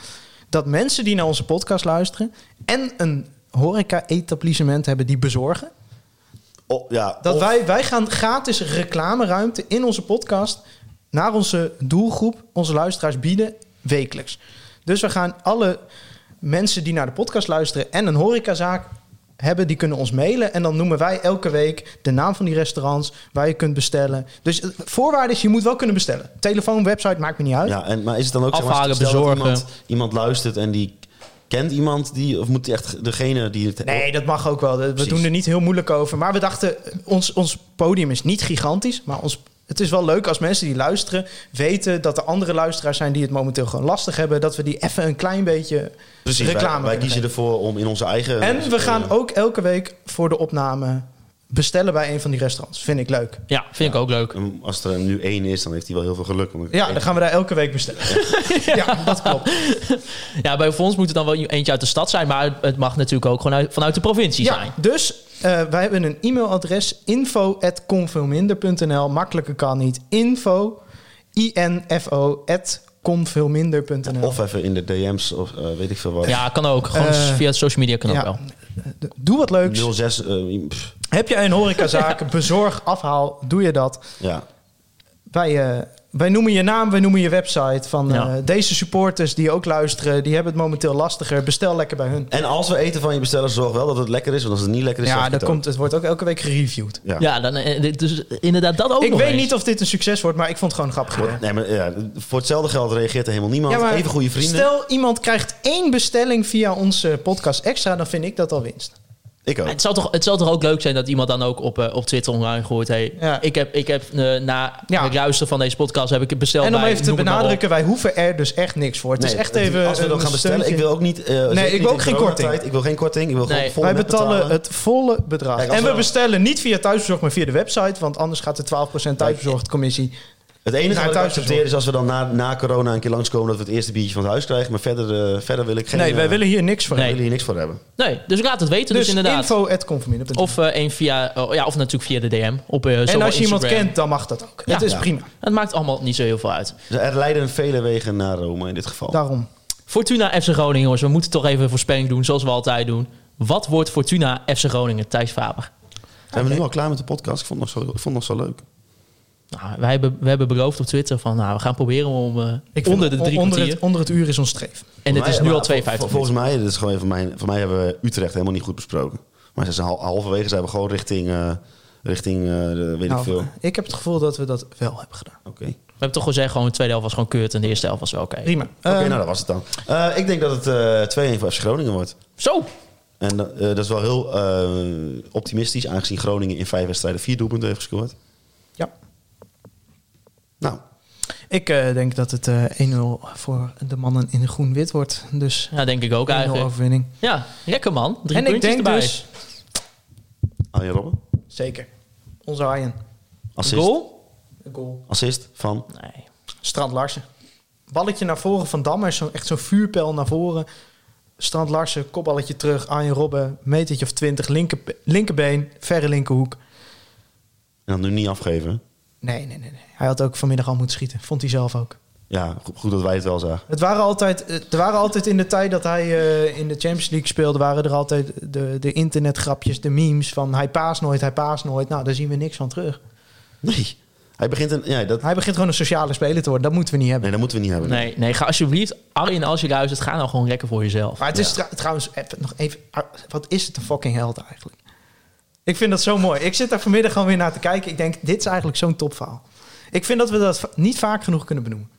Speaker 6: Dat mensen die naar onze podcast luisteren... en een horeca-etablissement hebben die bezorgen...
Speaker 5: Oh, ja,
Speaker 6: Dat
Speaker 5: of-
Speaker 6: wij, wij gaan gratis reclameruimte in onze podcast naar onze doelgroep, onze luisteraars bieden, wekelijks. Dus we gaan alle mensen die naar de podcast luisteren en een horecazaak hebben, die kunnen ons mailen. En dan noemen wij elke week de naam van die restaurants, waar je kunt bestellen. Dus eh, voorwaarde is, je moet wel kunnen bestellen. Telefoon, website, maakt me niet uit.
Speaker 5: oh, Ja, en, maar is het dan ook zeg maar,
Speaker 4: Afhalen,
Speaker 5: stel dat
Speaker 4: bezorgen.
Speaker 5: Iemand, iemand luistert en die kent iemand die, of moet die echt degene die het.
Speaker 6: Nee, dat mag ook wel. We
Speaker 5: Precies.
Speaker 6: doen er niet heel moeilijk over. Maar we dachten, eh, ons, ons podium is niet gigantisch. Maar ons, het is wel leuk als mensen die luisteren weten dat er andere luisteraars zijn die het momenteel gewoon lastig hebben. Dat we die even een klein beetje
Speaker 5: Precies, wij-
Speaker 6: reclame
Speaker 5: Wij,
Speaker 6: kunnen
Speaker 5: kiezen
Speaker 6: geven.
Speaker 5: ervoor om in onze eigen.
Speaker 6: En we gaan ook elke week voor de opname bestellen bij een van die restaurants. Vind ik leuk.
Speaker 4: Ja, vind ik ook leuk.
Speaker 5: En Als er nu één is, dan heeft hij wel heel veel geluk. want-
Speaker 6: Ja, dan gaan we daar elke week bestellen. Ja, dat klopt.
Speaker 4: Ja, bij voor ons moet het dan wel eentje uit de stad zijn, maar het- het mag natuurlijk ook gewoon uit- vanuit de provincie zijn.
Speaker 6: Ja, dus eh, wij hebben een e-mailadres info@conveelminder.nl. Makkelijker kan niet. Info info at conveelminder.nl.
Speaker 5: Of even in de DM's of eh, weet ik veel wat.
Speaker 4: Ja, kan ook. Gewoon
Speaker 6: Eh,
Speaker 4: via social media kan ook
Speaker 6: ja.
Speaker 4: wel.
Speaker 6: Doe wat leuks.
Speaker 5: 06. eh, pff,
Speaker 6: Heb je een horecazaak, bezorg, afhaal, doe je dat.
Speaker 5: ja.
Speaker 6: Wij, eh, wij noemen je naam, wij noemen je website. Van eh,
Speaker 4: Ja.
Speaker 6: deze supporters die ook luisteren, die hebben het momenteel lastiger. Bestel lekker bij hun.
Speaker 5: En als we eten van je bestellen, zorg wel dat het lekker is. Want als het niet lekker is, zeg
Speaker 6: Ja,
Speaker 5: ik
Speaker 6: dat
Speaker 5: het ook.
Speaker 6: komt, het wordt ook elke week gereviewd.
Speaker 5: Ja.
Speaker 4: Ja, dan, eh, dit- dus inderdaad dat ook
Speaker 6: Ik
Speaker 4: nog
Speaker 6: weet
Speaker 4: eens.
Speaker 6: niet of dit een succes wordt, maar ik vond het gewoon grappig. idee.
Speaker 5: Nee, maar, ja, voor hetzelfde geld reageert er helemaal niemand.
Speaker 6: maar
Speaker 5: Even goede vrienden.
Speaker 6: Stel, iemand krijgt één bestelling via onze podcast extra, dan vind ik dat al winst.
Speaker 5: Ik ook.
Speaker 4: Het zou, toch, het zou toch ook leuk zijn dat iemand dan ook op, eh, op Twitter online gooit... Hey,
Speaker 6: Ja.
Speaker 4: ik heb, ik heb eh, na
Speaker 6: Ja.
Speaker 4: het luisteren van deze podcast heb ik het besteld
Speaker 6: en om
Speaker 4: bij,
Speaker 6: even te
Speaker 4: noem het maar op.
Speaker 6: benadrukken, wij hoeven er dus echt niks voor. Het is
Speaker 5: Nee,
Speaker 6: echt even.
Speaker 5: Als we dan
Speaker 6: een
Speaker 5: gaan bestellen,
Speaker 6: steuntje.
Speaker 5: ik wil ook niet. eh, zeker
Speaker 6: ik wil
Speaker 5: niet
Speaker 6: ook
Speaker 5: in
Speaker 6: geen
Speaker 5: coronatijd.
Speaker 6: korting.
Speaker 5: Ik wil geen korting. Ik wil gewoon
Speaker 4: Nee.
Speaker 5: vol
Speaker 6: Wij
Speaker 5: net
Speaker 6: betalen
Speaker 5: betalen.
Speaker 6: het volle bedrag.
Speaker 5: Kijk, als
Speaker 6: en we
Speaker 5: we-
Speaker 6: bestellen niet via thuisbezorg, maar via de website. Want anders gaat de 12% thuisbezorgd commissie.
Speaker 5: Het enige
Speaker 6: Naar
Speaker 5: wat ik
Speaker 6: thuis
Speaker 5: accepteer is als we dan na, na corona een keer langskomen... dat we het eerste biertje van het huis krijgen. Maar verder, eh, verder wil ik geen...
Speaker 6: Nee, wij
Speaker 5: eh,
Speaker 6: willen hier niks voor.
Speaker 5: daar
Speaker 4: Nee.
Speaker 5: willen hier niks voor hebben.
Speaker 4: Nee, dus laat het weten dus,
Speaker 6: Dus,
Speaker 4: inderdaad.
Speaker 6: info.conforminder.nl
Speaker 4: Of, eh een via, oh, ja, of natuurlijk via de DM. Op, eh,
Speaker 6: En
Speaker 4: zowel
Speaker 6: als je iemand
Speaker 4: Instagram.
Speaker 6: kent, dan mag dat ook.
Speaker 4: Ja.
Speaker 6: het is
Speaker 4: Ja.
Speaker 6: prima.
Speaker 4: Het maakt allemaal niet zo heel veel uit.
Speaker 5: Dus Er leiden vele wegen naar Rome in dit geval.
Speaker 6: Daarom.
Speaker 4: Fortuna FC Groningen, jongens. We moeten toch even een voorspelling doen, zoals we altijd doen. Wat wordt Fortuna FC Groningen, Thijs Faber?
Speaker 5: Zijn we nu al klaar met de podcast? Ik vond het nog zo, ik vond het nog zo leuk.
Speaker 4: Nou, wij hebben, we hebben beloofd op Twitter van, nou, we gaan proberen om eh, onder de
Speaker 6: vind-
Speaker 4: drie
Speaker 6: onder
Speaker 4: kwartier.
Speaker 6: het, onder het uur is ons streef.
Speaker 4: en het
Speaker 5: Maar-
Speaker 4: is nu
Speaker 5: maar
Speaker 4: al
Speaker 5: vol-
Speaker 4: 52
Speaker 5: Volgens
Speaker 4: minuten.
Speaker 5: mij, dit is gewoon even mijn, voor mij hebben we Utrecht helemaal niet goed besproken. Maar ze zijn hal- halverwege zijn we gewoon richting, eh, richting eh, de- weet ik
Speaker 6: Nou,
Speaker 5: veel. Oké.
Speaker 6: ik heb het gevoel dat we dat wel hebben gedaan.
Speaker 4: We hebben toch gezegd, gewoon de tweede helft was gewoon keurt en de eerste helft was wel oké.
Speaker 6: Prima.
Speaker 5: Oké,
Speaker 6: Ehm,
Speaker 5: nou dat was het dan. Eh, ik denk dat het eh 2-1 voor FC Groningen wordt.
Speaker 4: Zo!
Speaker 5: En eh, dat is wel heel eh, optimistisch, aangezien Groningen in vijf wedstrijden vier doelpunten heeft gescoord.
Speaker 6: ja.
Speaker 5: Nou,
Speaker 6: Ik eh, denk dat het eh, 1-0 voor de mannen in groen-wit wordt. Dus 1-0
Speaker 4: Ja, denk ik ook eigenlijk.
Speaker 6: overwinning.
Speaker 4: Ja, lekker man. Drie
Speaker 6: en ik
Speaker 4: puntjes
Speaker 6: denk
Speaker 4: erbij.
Speaker 6: dus...
Speaker 5: Arjen Robben.
Speaker 6: Zeker. Onze Arjen.
Speaker 5: Assist,
Speaker 4: Goal?
Speaker 6: Een goal.
Speaker 5: assist van.
Speaker 4: Nee.
Speaker 6: Strand Larsen. Balletje naar voren van Damme. Is zo, echt zo'n vuurpijl naar voren. Strand Larsen, kopballetje terug. Arjen Robben, metertje of twintig. Linker, linkerbeen, verre linkerhoek.
Speaker 5: En dan nu niet afgeven.
Speaker 6: Nee, nee, nee, nee. Hij had ook vanmiddag al moeten schieten. Vond hij zelf ook.
Speaker 5: Ja, go- goed dat wij het wel zagen.
Speaker 6: Het waren altijd, eh, er waren altijd in de tijd dat hij eh, in de Champions League speelde... waren er altijd de, de internetgrapjes, de memes van... hij paast nooit, hij paast nooit. Nou, daar zien we niks van terug.
Speaker 5: Nee. Hij begint een. Ja, dat,
Speaker 6: Hij begint gewoon een sociale speler te worden. Dat moeten we niet hebben.
Speaker 5: nee, dat moeten we niet hebben.
Speaker 4: Nee, nee, ga alsjeblieft, Arjen, als je luistert, ga nou gewoon lekker voor jezelf.
Speaker 6: Maar het is tra- trouwens, even, nog even, ah, wat is het een fucking held eigenlijk? Ik vind dat zo mooi. Ik zit daar vanmiddag gewoon weer naar te kijken. Ik denk, dit is eigenlijk zo'n topverhaal. Ik vind dat we dat va- niet vaak genoeg kunnen benoemen.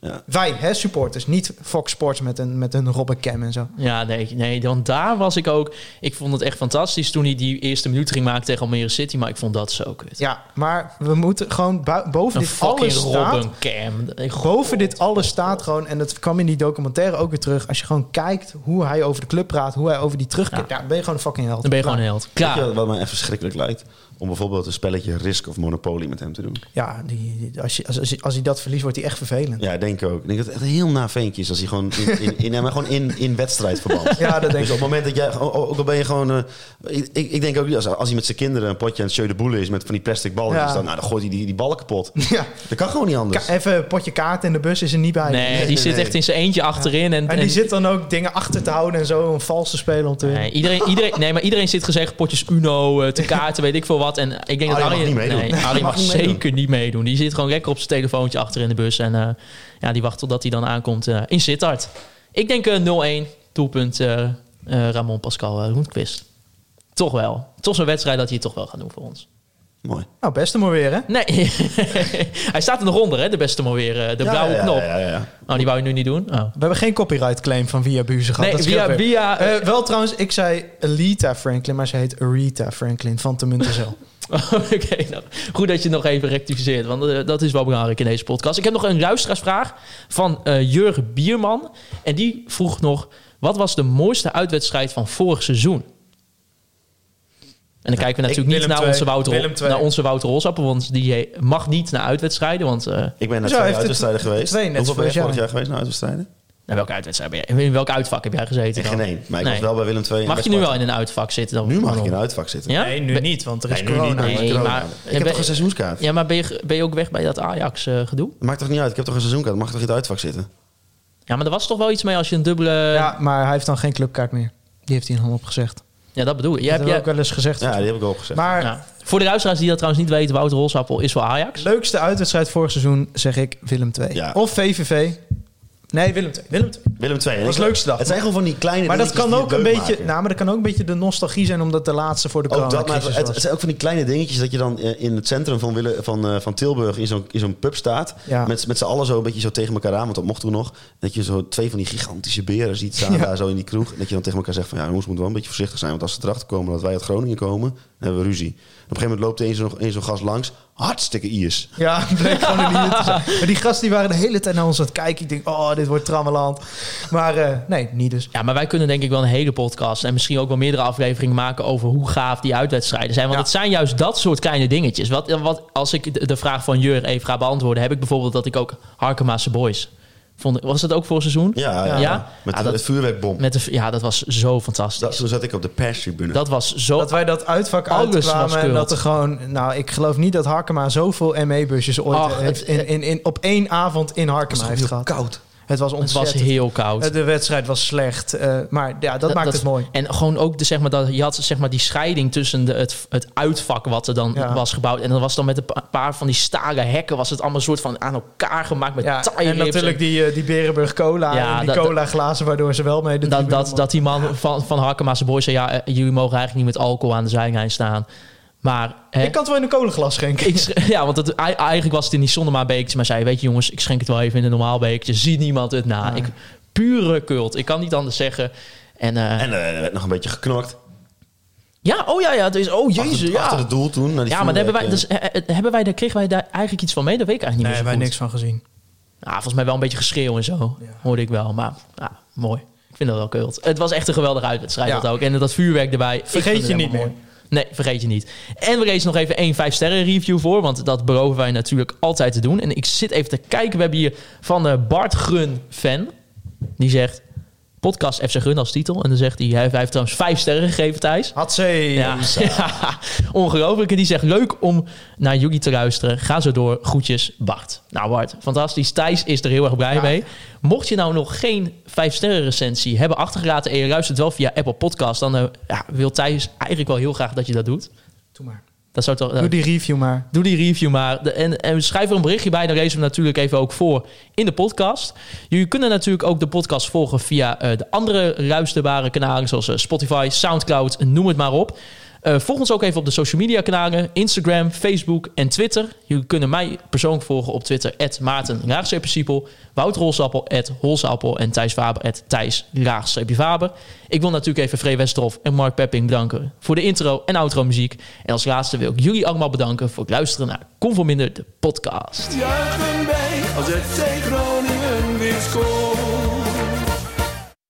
Speaker 5: Ja.
Speaker 6: Wij, hè, supporters, niet Fox Sports met een, met een Robben Cam en zo.
Speaker 4: Ja, nee, nee, want daar was ik ook. Ik vond het echt fantastisch toen hij die eerste minuut ging maken tegen Almere City, maar ik vond dat zo kut.
Speaker 6: Ja, maar we moeten gewoon bui- boven
Speaker 4: Een
Speaker 6: dit alles
Speaker 4: fucking
Speaker 6: staat...
Speaker 4: Robben Cam. Ik-
Speaker 6: Boven dit alles staat gewoon, en dat kwam in die documentaire ook weer terug. Als je gewoon kijkt hoe hij over de club praat, hoe hij over die terugkeer. Ja.
Speaker 4: Ja.
Speaker 6: ben je gewoon een fucking held.
Speaker 4: Dan ben je gewoon een held.
Speaker 5: Weet je
Speaker 4: Klaar.
Speaker 5: wat- wat mij even verschrikkelijk lijkt? Om bijvoorbeeld een spelletje Risk of Monopoly met hem te doen.
Speaker 6: Ja, die, die- als, je, als, als, als hij dat verliest, wordt hij echt vervelend.
Speaker 5: Ja, ik denk ook. Ik denk dat het echt een heel na ventje is als hij gewoon in, in, in, ja, maar gewoon in, in wedstrijdverband.
Speaker 6: Ja, dat denk
Speaker 5: dus
Speaker 6: ik.
Speaker 5: op het moment dat jij, o- o- ook al ben je gewoon... eh, ik, ik ik denk ook, niet, als, als hij met zijn kinderen een potje aan het jeu de boelen is met van die plastic ballen,
Speaker 6: Ja.
Speaker 5: dan, nou, dan gooit hij die, die ballen kapot.
Speaker 6: Ja.
Speaker 5: Dat kan gewoon niet
Speaker 6: Ka-
Speaker 5: anders.
Speaker 6: even een potje kaart in de bus is er niet bij.
Speaker 4: Nee, die
Speaker 5: nee,
Speaker 4: zit
Speaker 5: nee.
Speaker 4: echt in zijn eentje achterin. En,
Speaker 6: En die
Speaker 4: en-
Speaker 6: zit dan ook dingen achter te houden en zo om vals te spelen om te winnen.
Speaker 4: Nee, Eh, iedereen, iedereen, nee, maar iedereen zit gezegd potjes Uno, eh, te kaarten, weet ik veel wat. En ik denk
Speaker 5: Arjen
Speaker 4: dat
Speaker 5: Ah, mag
Speaker 4: Arjen...
Speaker 5: niet meedoen.
Speaker 4: nee,
Speaker 5: Nee,
Speaker 4: Arjen
Speaker 5: mag
Speaker 4: mag,
Speaker 5: niet meedoen.
Speaker 4: zeker niet meedoen. Die zit gewoon lekker op zijn telefoontje achter in de bus. En eh, ja, die wacht totdat hij dan aankomt eh, in Sittard. Ik denk eh, 0-1, doelpunt eh, eh, Ramon Pascal eh, Roenquist. Toch wel. Toch zo'n wedstrijd dat hij het toch wel gaat doen voor ons.
Speaker 5: Mooi.
Speaker 6: Nou, best hem maar weer, hè?
Speaker 4: Nee, hij staat er nog onder, hè, de beste man weer. eh, de
Speaker 5: Ja,
Speaker 4: blauwe
Speaker 5: ja,
Speaker 4: knop.
Speaker 5: Ja, ja, ja.
Speaker 4: Oh, die wou je nu niet doen? Oh.
Speaker 6: We hebben geen copyright claim van Via Buzen gehad.
Speaker 4: Nee,
Speaker 6: dat scheelt
Speaker 4: Via-
Speaker 6: weer.
Speaker 4: Via-
Speaker 6: Eh, wel trouwens, ik zei Alita Franklin, maar ze heet Rita Franklin van de Muntezel.
Speaker 4: Oké, nou, goed dat je nog even rectificeert, want eh, dat is wel belangrijk in deze podcast. Ik heb nog een luisteraarsvraag van eh Jurgen Bierman. En die vroeg nog, wat was de mooiste uitwedstrijd van vorig seizoen? En dan kijken we natuurlijk niet
Speaker 6: Willem
Speaker 4: naar,
Speaker 6: II,
Speaker 4: onze Wouter,
Speaker 6: Willem II.
Speaker 4: naar onze Wouter Holsappel, want die he- mag niet naar uitwedstrijden. Want eh,
Speaker 5: Ik ben naar
Speaker 6: Zo
Speaker 5: twee
Speaker 6: heeft het
Speaker 5: uitwedstrijden geweest.
Speaker 6: twee net
Speaker 5: Hoeveel ben je
Speaker 6: vorig jaar.
Speaker 5: vorig jaar geweest naar uitwedstrijden?
Speaker 4: naar welke uitwedstrijd ben jij? In welk uitvak heb jij gezeten?
Speaker 5: Ik
Speaker 4: dan?
Speaker 5: geen één. Maar ik
Speaker 4: Nee.
Speaker 5: was wel bij Willem II. en
Speaker 4: Mag je
Speaker 5: bij
Speaker 4: nu wel
Speaker 5: Sparta.
Speaker 4: in een uitvak zitten? Dan
Speaker 5: Nu mag ik in een uitvak zitten.
Speaker 4: Ja?
Speaker 6: Nee, nu
Speaker 4: Ben-
Speaker 6: niet, want er is
Speaker 5: Nee, nu niet,
Speaker 6: corona.
Speaker 5: nee.
Speaker 4: Nee,
Speaker 5: corona.
Speaker 4: maar,
Speaker 5: Ik heb
Speaker 4: ben-
Speaker 5: toch een seizoenskaart?
Speaker 4: Ja, maar ben je, ben je ook weg bij dat Ajax-gedoe?
Speaker 5: Maakt toch niet uit? Ik heb toch een seizoenkaart? Mag ik toch in het uitvak zitten?
Speaker 4: ja, maar er was toch wel iets mee als je een dubbele...
Speaker 6: Ja, maar hij heeft dan geen clubkaart meer. Die heeft hij in hand opgezegd.
Speaker 4: Ja, dat bedoel ik. Jij
Speaker 6: Dat
Speaker 4: hebt,
Speaker 6: heb ik
Speaker 4: jij,
Speaker 6: ook wel eens gezegd.
Speaker 5: Ja, die heb ik al opgezet.
Speaker 6: maar
Speaker 4: ja. Voor de luisteraars die dat trouwens niet weten, Wouter Holsappel is voor Ajax.
Speaker 6: leukste uitwedstrijd vorig seizoen zeg ik Willem II.
Speaker 5: Ja.
Speaker 6: Of VVV. Nee, Willem II. Willem II.
Speaker 5: Willem II. En
Speaker 6: was
Speaker 5: ik-
Speaker 6: leukste dag.
Speaker 5: Het zijn gewoon van die kleine
Speaker 6: Maar dat
Speaker 5: dingetjes
Speaker 6: kan
Speaker 5: die
Speaker 6: ook
Speaker 5: het
Speaker 6: een
Speaker 5: leuk
Speaker 6: beetje...
Speaker 5: maken.
Speaker 6: Nou, maar dat kan ook een beetje de nostalgie zijn... omdat de laatste voor de
Speaker 5: Ook dat, maar
Speaker 6: coronacrisis
Speaker 5: het, het
Speaker 6: was.
Speaker 5: zijn ook van die kleine dingetjes dat je dan eh, in het centrum van, Wille, van, eh, van Tilburg in zo'n, in zo'n pub staat.
Speaker 6: Ja.
Speaker 5: Met, met z'n allen zo een beetje zo tegen elkaar aan, want dat mocht toen nog. Dat je zo twee van die gigantische beren ziet staan
Speaker 6: Ja.
Speaker 5: daar zo in die kroeg. En dat je dan tegen elkaar zegt van ja, jongens, we moeten wel een beetje voorzichtig zijn. Want als ze erachter komen dat wij uit Groningen komen, dan hebben we ruzie. Op een gegeven moment loopt er een zo'n, een zo'n gast langs. Hartstikke Iers.
Speaker 6: Ja, bleek gewoon een hier te zijn. Maar die gasten die waren de hele tijd naar ons aan het kijken. Ik denk, oh, dit wordt trammeland. Maar eh, nee, niet dus.
Speaker 4: Ja, maar wij kunnen denk ik wel een hele podcast en misschien ook wel meerdere afleveringen maken over hoe gaaf die uitwedstrijden zijn. Want
Speaker 6: Ja.
Speaker 4: het zijn juist dat soort kleine dingetjes. Wat, wat, als ik de- de vraag van Jur even ga beantwoorden, heb ik bijvoorbeeld dat ik ook Harkemaase Boys vond. Was dat ook voor seizoen?
Speaker 5: Ja, ja.
Speaker 4: Ja?
Speaker 5: met
Speaker 4: Ah,
Speaker 5: de-
Speaker 4: dat-
Speaker 5: het vuurwerkbom.
Speaker 4: Met de, ja, dat was zo
Speaker 5: Dat,
Speaker 4: fantastisch.
Speaker 5: toen zat ik op de perstribune.
Speaker 4: Dat was zo...
Speaker 6: Dat wij dat uitvak
Speaker 4: Oh. Alles was
Speaker 6: uitkwamen en dat
Speaker 4: kult.
Speaker 6: er gewoon... Nou, ik geloof niet dat Harkema zoveel ME-busjes ooit
Speaker 4: Ach,
Speaker 6: heeft
Speaker 4: het-
Speaker 6: in, in, in, op één avond in Harkema heeft gehad.
Speaker 5: koud.
Speaker 6: Het was
Speaker 4: het was
Speaker 6: ontzettend.
Speaker 4: heel koud.
Speaker 6: Eh, De wedstrijd was slecht. eh, maar ja, dat, maakt het mooi.
Speaker 4: En gewoon ook, de, zeg maar, dat, je had zeg maar, die scheiding tussen de, het, het uitvak wat er dan
Speaker 6: Ja.
Speaker 4: was gebouwd. En dan was dan met een pa- paar van die stalen hekken, was het allemaal soort van aan elkaar gemaakt met
Speaker 6: Ja,
Speaker 4: tie
Speaker 6: en natuurlijk die, eh, die Berenburg cola
Speaker 4: Ja,
Speaker 6: en die
Speaker 4: dat-
Speaker 6: cola glazen waardoor ze wel mee de
Speaker 4: dat,
Speaker 6: tribune
Speaker 4: dat, dat die man van, van Harkema's Boy zei, ja, eh, jullie mogen eigenlijk niet met alcohol aan de zijlijn staan. Maar hè,
Speaker 6: mochten. Ik kan het wel in een kolenglas schenken.
Speaker 4: ik sch- ja, want het, ei- eigenlijk was het in die zonnema bekertje. Maar zei, weet je jongens, ik schenk het wel even in een normaal bekertje. Ziet niemand het na. Ik, pure cult. Ik kan niet anders zeggen. En, eh,
Speaker 5: En eh, er werd nog een beetje geknokt.
Speaker 4: ja, oh ja, ja, het is, oh jezus,
Speaker 5: achter,
Speaker 4: ja.
Speaker 5: achter het doel toen. naar die
Speaker 4: Ja, maar daar hebben wij,
Speaker 5: vuurwerk,
Speaker 4: dus, eh, eh, hebben wij, daar kregen wij daar eigenlijk iets van mee? Dat weet ik eigenlijk niet
Speaker 6: Nee,
Speaker 4: meer
Speaker 6: wij
Speaker 4: zo goed.
Speaker 6: niks van gezien.
Speaker 4: Ah, volgens mij wel een beetje geschreeuw en zo, hoorde ik wel. Maar ah, mooi. Ik vind dat wel kult. Het was echt een geweldige uitwedstrijd
Speaker 6: Ja.
Speaker 4: dat ook. En dat vuurwerk erbij. Ik
Speaker 6: Vergeet
Speaker 4: vond het
Speaker 6: je niet
Speaker 4: helemaal mooi. Nee, vergeet je niet. En we racen nog even één 5-sterren review voor. Want dat beloven wij natuurlijk altijd te doen. En ik zit even te kijken. We hebben hier van de Bart Grun fan. Die zegt... Podcast FC Grun als titel. En dan zegt hij... Hij heeft hij heeft trouwens vijf sterren gegeven, Thijs.
Speaker 6: Had
Speaker 4: Ja, ja. ongelooflijk. En die zegt, leuk om naar jullie te luisteren. Ga zo door. Groetjes, Bart. Nou Bart, fantastisch. Thijs is er heel erg blij mee. Mocht je nou nog geen 5-sterren recensie hebben achtergelaten... en je luistert wel via Apple Podcast... dan eh, ja, wil Thijs eigenlijk wel heel graag dat je dat doet.
Speaker 6: Doe maar.
Speaker 4: Dat zou toch, eh,
Speaker 6: Doe die review maar.
Speaker 4: Doe die review maar. De- en, en schrijf er een berichtje bij. Dan lezen we natuurlijk even ook voor in de podcast. Jullie kunnen natuurlijk ook de podcast volgen via eh, de andere luisterbare kanalen. Zoals eh, Spotify, Soundcloud, noem het maar op. Eh, volg ons ook even op de social media kanalen. Instagram, Facebook en Twitter. Jullie kunnen mij persoonlijk volgen op Twitter. At Maarten Raagstreepje Siepel. Wout Holsappel. At Holsappel. En Thijs Faber. At Thijs Raagstreepje Faber. Ik wil natuurlijk even Free Westerhof en Mark Pepping bedanken voor de intro en outro muziek. En als laatste wil ik jullie allemaal bedanken voor het luisteren naar Conforminder, de podcast.
Speaker 1: Juichen wij als het FC Groningen weer scoort.